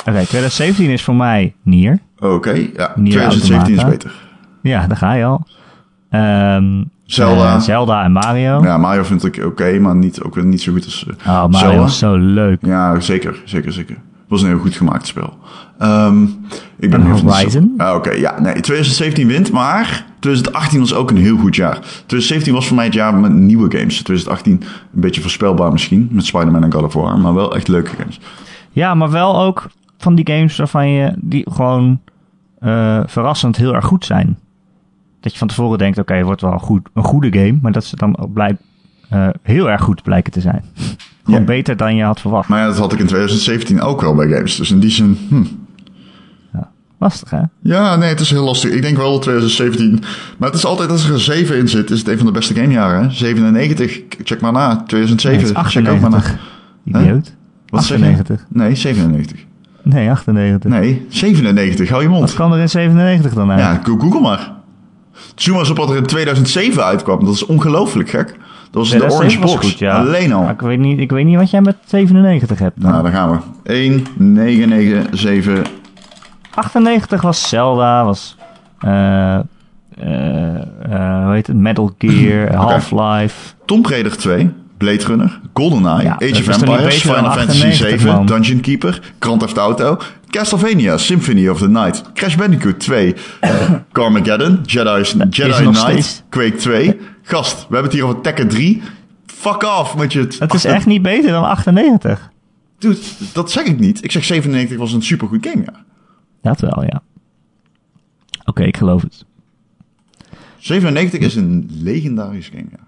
Speaker 1: Oké, 2017 is voor mij Nier.
Speaker 2: Oké, ja.
Speaker 1: Nier
Speaker 2: 2017 is
Speaker 1: Automata.
Speaker 2: beter.
Speaker 1: Ja, daar ga je al. Ehm,
Speaker 2: Zelda.
Speaker 1: eh, Zelda en Mario.
Speaker 2: Ja, Mario vind ik oké, maar niet, ook weer niet zo goed als
Speaker 1: Oh,
Speaker 2: eh,
Speaker 1: Mario
Speaker 2: Zelda.
Speaker 1: was zo leuk.
Speaker 2: Ja, zeker, zeker, zeker. Het was een heel goed gemaakt spel. Ehm, ik ben
Speaker 1: En
Speaker 2: heel van de-
Speaker 1: Horizon?
Speaker 2: Ah, Oké, ja, nee, 2017 wint, maar 2018 was ook een heel goed jaar. 2017 was voor mij het jaar met nieuwe games. 2018 een beetje voorspelbaar misschien, met Spider-Man en God of War, maar wel echt leuke games.
Speaker 1: Ja, maar wel ook van die games waarvan je die gewoon eh, verrassend heel erg goed zijn. Dat je van tevoren denkt, oké, het wordt wel een, goed, een goede game. Maar dat ze dan ook blijkt eh, heel erg goed blijken te zijn. <laughs> Gewoon
Speaker 2: Ja.
Speaker 1: beter dan je had verwacht.
Speaker 2: Maar ja, dat had ik in 2017 ook wel bij games. Dus in die zin, hm.
Speaker 1: Lastig, hè?
Speaker 2: Ja, nee, het is heel lastig. Ik denk wel dat 2017. Maar het is altijd als er een 7 in zit, is het een van de beste gamejaren. hè? 97, k- check maar na. 2007,
Speaker 1: Nee, het is
Speaker 2: check ook maar na.
Speaker 1: 98. Idioot.
Speaker 2: Wat zeg je?
Speaker 1: 98.
Speaker 2: Nee, 97.
Speaker 1: Nee, 98.
Speaker 2: Nee, 97, hou je
Speaker 1: Wat
Speaker 2: mond.
Speaker 1: kan er in 97 dan uit?
Speaker 2: Ja, go- google maar. Zoom maar eens op wat er in 2007 uitkwam. Dat is ongelooflijk gek. Dat was de
Speaker 1: 2007
Speaker 2: Orange
Speaker 1: was
Speaker 2: Box.
Speaker 1: goed, ja.
Speaker 2: Alleen al.
Speaker 1: Maar ik, weet niet, ik weet niet wat jij met 97 hebt.
Speaker 2: Nou, daar gaan we. 1, 9, 9, 7.
Speaker 1: 98 was Zelda, was... eh, eh, eh, hoe heet het? Metal
Speaker 2: <clears throat>
Speaker 1: Gear, Half-Life.
Speaker 2: Tomb Raider 2, Blade Runner, GoldenEye,
Speaker 1: Ja, dat
Speaker 2: Age of
Speaker 1: is toch niet
Speaker 2: Empires,
Speaker 1: beter dan
Speaker 2: Final Fantasy
Speaker 1: 98,
Speaker 2: VII,
Speaker 1: man.
Speaker 2: Dungeon Keeper, Grand Theft Auto, Castlevania, Symphony of the Night, Crash Bandicoot 2,
Speaker 1: <laughs>
Speaker 2: eh, Carmageddon, Jedi's, Jedi
Speaker 1: is er
Speaker 2: Knight,
Speaker 1: nog steeds.
Speaker 2: Quake 2. Gast, we hebben het hier over Tekken 3. Fuck off met je...
Speaker 1: Het is echt niet beter dan 98.
Speaker 2: Dude, dat zeg ik niet. Ik zeg 97 was een supergoed game, ja.
Speaker 1: Dat wel, ja. Oké, ik geloof het.
Speaker 2: 97 is een legendarisch game, ja.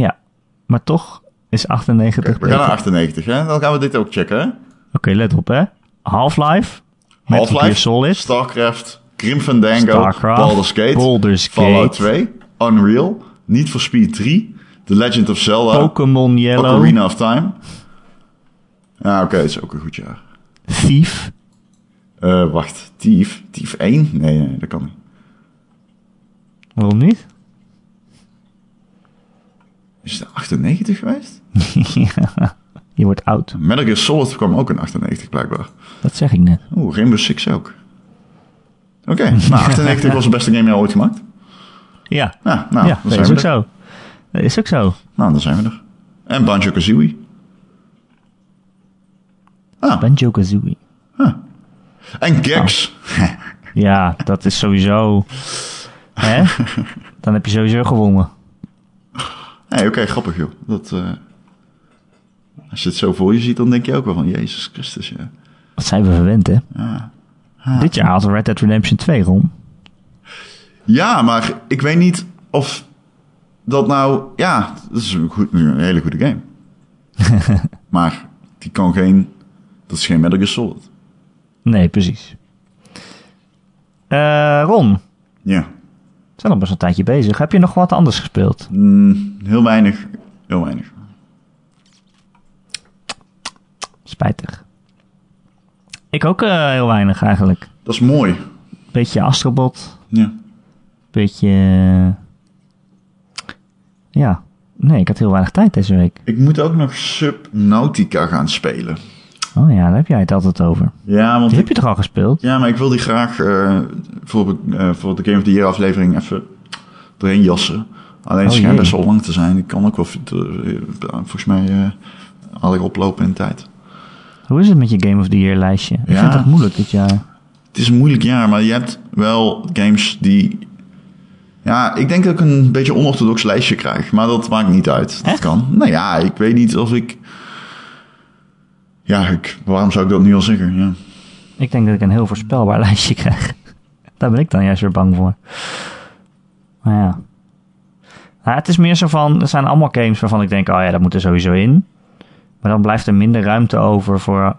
Speaker 1: Ja, maar toch is 98
Speaker 2: We
Speaker 1: beter.
Speaker 2: gaan naar 98, hè? Dan gaan we dit ook checken, hè?
Speaker 1: Oké, let op, hè. Half-Life. Metal Gear
Speaker 2: Half-Life,
Speaker 1: Solid.
Speaker 2: Starcraft, Grim Fandango,
Speaker 1: Starcraft,
Speaker 2: Baldur's Gate,
Speaker 1: Baldur's
Speaker 2: Fallout
Speaker 1: Gate.
Speaker 2: 2, Unreal, Need for Speed 3, The Legend of Zelda,
Speaker 1: Pokémon Yellow.
Speaker 2: Oh. Ocarina of Time. Ah, oké, dat is ook een goed jaar.
Speaker 1: Thief.
Speaker 2: Eh, wacht, Thief? Thief 1? Nee, nee, dat kan niet.
Speaker 1: Waarom niet? <laughs>
Speaker 2: Is het 98 geweest?
Speaker 1: ja, je wordt oud.
Speaker 2: Metal Gear Solid kwam ook in 98 blijkbaar.
Speaker 1: Dat zeg ik net.
Speaker 2: Oeh, Rainbow Six ook.
Speaker 1: <laughs>
Speaker 2: Oké, nou 98 was de beste game die ooit gemaakt.
Speaker 1: Ja,
Speaker 2: Ja, nou,
Speaker 1: ja
Speaker 2: dan
Speaker 1: dat
Speaker 2: zijn
Speaker 1: is
Speaker 2: we
Speaker 1: ook
Speaker 2: er.
Speaker 1: zo. Dat is ook zo.
Speaker 2: Nou, dan zijn we er. En Banjo-Kazooie. Ah,
Speaker 1: Banjo Kazooie.
Speaker 2: en Gex.
Speaker 1: Ja, dat is sowieso.
Speaker 2: <laughs>
Speaker 1: Hè? Dan heb je sowieso gewonnen. Nou.
Speaker 2: Nee, oké, grappig joh. Dat, eh, als je het zo voor je ziet, dan denk je ook wel van Jezus Christus. Ja.
Speaker 1: Wat zijn we verwend, hè? Dit jaar had Red Dead Redemption 2 rond.
Speaker 2: ja, maar ik weet niet of dat nou... Ja, dat is een, goed, een hele goede
Speaker 1: <laughs>
Speaker 2: game. maar die kan geen... Dat is geen Metal Gear Solid.
Speaker 1: Nee, precies. Eh, Ron, we
Speaker 2: Ja,
Speaker 1: zijn al best een tijdje bezig. Heb je nog wat anders gespeeld?
Speaker 2: heel weinig. Heel weinig.
Speaker 1: Spijtig. Ik ook eh, heel weinig eigenlijk.
Speaker 2: Dat is mooi.
Speaker 1: Beetje Astrobot,
Speaker 2: Ja.
Speaker 1: beetje... eh, Ja, nee, ik had heel weinig tijd deze week.
Speaker 2: Ik moet ook nog Subnautica gaan spelen.
Speaker 1: Oh ja, daar heb jij het altijd over.
Speaker 2: Ja, want
Speaker 1: Die
Speaker 2: ik,
Speaker 1: heb je toch al gespeeld?
Speaker 2: ja, maar ik wil die graag eh, voor, eh, voor de Game of the Year aflevering even doorheen jassen. Alleen het
Speaker 1: Oh,
Speaker 2: schijnt
Speaker 1: jee.
Speaker 2: best wel lang te zijn. Ik kan ook wel... eh, Volgens mij eh, had ik oplopen in tijd.
Speaker 1: Hoe is het met je Game of the Year lijstje? Ik
Speaker 2: Ja.
Speaker 1: vind dat moeilijk dit jaar.
Speaker 2: Het is een moeilijk jaar, maar je hebt wel games die... Ja, ik denk dat ik een beetje onorthodox lijstje krijg. Maar dat maakt niet uit. Dat
Speaker 1: Echt?
Speaker 2: kan. Nou ja, ik weet niet of ik... Ja, ik, waarom zou ik dat nu al zeggen? Ja.
Speaker 1: Ik denk dat ik een heel voorspelbaar <laughs> lijstje krijg. Daar ben ik dan juist weer bang voor. Maar ja. Nou, het is meer zo van, er zijn allemaal games waarvan ik denk, oh ja, dat moet er sowieso in. Maar dan blijft er minder ruimte over voor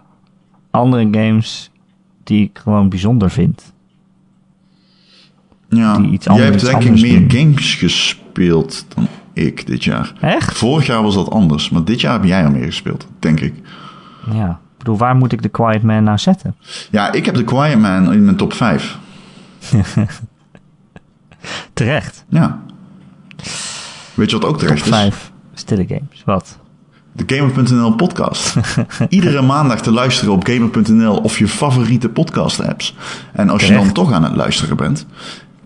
Speaker 1: andere games die ik gewoon bijzonder vind.
Speaker 2: Ja,
Speaker 1: die iets
Speaker 2: jij hebt
Speaker 1: anders-
Speaker 2: denk
Speaker 1: anders
Speaker 2: ik meer
Speaker 1: doen.
Speaker 2: games gespeeld dan ik dit jaar.
Speaker 1: Echt?
Speaker 2: Vorig jaar was dat anders, maar dit jaar heb jij al meer gespeeld, denk ik.
Speaker 1: Ja. Ik bedoel, waar moet ik The Quiet Man nou zetten?
Speaker 2: Ja, ik heb The Quiet Man in mijn top 5.
Speaker 1: Terecht.
Speaker 2: Ja. Weet je wat ook terecht is?
Speaker 1: Vijf stille games. Wat?
Speaker 2: De Gamer.nl
Speaker 1: <laughs>
Speaker 2: podcast. Iedere maandag te luisteren op Gamer.nl of je favoriete podcast apps. En als je dan
Speaker 1: Terecht.
Speaker 2: toch aan het luisteren bent,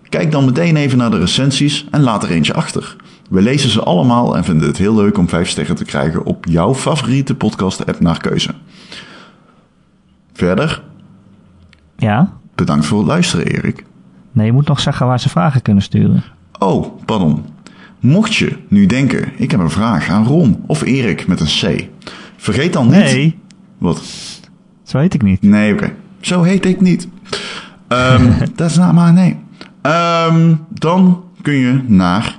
Speaker 2: kijk dan meteen even naar de recensies en laat er eentje achter. We lezen ze allemaal en vinden het heel leuk om vijf sterren te krijgen op jouw favoriete podcast app naar keuze. Verder,
Speaker 1: Ja?
Speaker 2: bedankt voor het luisteren Erik.
Speaker 1: Nee, je moet nog zeggen waar ze vragen kunnen sturen.
Speaker 2: Oh, pardon. Mocht je nu denken, ik heb een vraag aan Ron of Erik met een C. Vergeet dan niet...
Speaker 1: Nee,
Speaker 2: Wat?
Speaker 1: zo heet ik niet.
Speaker 2: Nee, oké. Zo heet ik niet. Ehm, dat is not my name. Ehm, dan kun je naar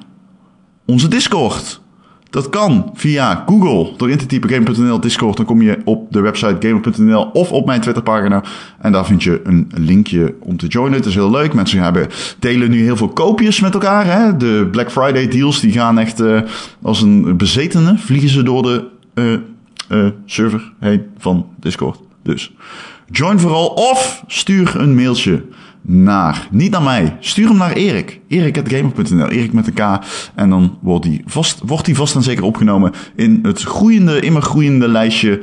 Speaker 2: onze Discord. Dat kan via Google. Door in te typen gamer.nl Discord. Dan kom je op de website gamer.nl of op mijn Twitterpagina. En daar vind je een linkje om te joinen. Het is heel leuk. Mensen hebben, delen nu heel veel koopjes met elkaar. Hè? De Black Friday deals die gaan echt eh, als een bezetene. Vliegen ze door de eh, eh, server heen van Discord. Dus join vooral of stuur een mailtje naar, niet naar mij, stuur hem naar Erik. Erik.gamer.nl, Erik met een K. En dan wordt hij vast, wordt die vast en zeker opgenomen in het groeiende, immer groeiende lijstje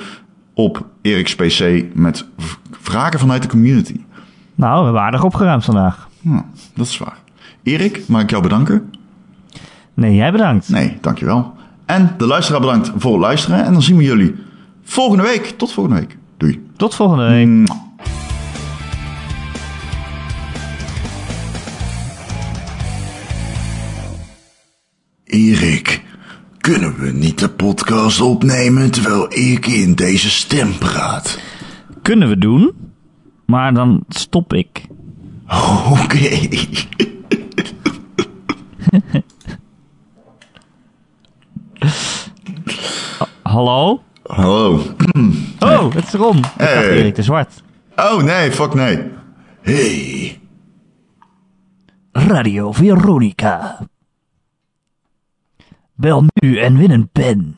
Speaker 2: op Erik's PC met v- vragen vanuit de community.
Speaker 1: Nou, we hebben aardig opgeruimd vandaag.
Speaker 2: Hm, dat is waar. Erik, mag ik jou bedanken?
Speaker 1: Nee, jij bedankt.
Speaker 2: Nee, dankjewel. En de luisteraar bedankt voor het luisteren. En dan zien we jullie volgende week. Tot volgende week. Doei.
Speaker 1: Tot volgende week.
Speaker 2: Erik, kunnen we niet de podcast opnemen terwijl ik in deze stem praat? <laughs>
Speaker 1: Kunnen we doen, maar dan stop ik.
Speaker 2: Oké.
Speaker 1: Hallo?
Speaker 2: Hallo.
Speaker 1: Oh, het is Ron. Ik dacht
Speaker 2: Hey.
Speaker 1: Erik de Zwart.
Speaker 2: Oh nee, fuck nee. Hey.
Speaker 1: Radio Veronica. Bel nu en win een pen.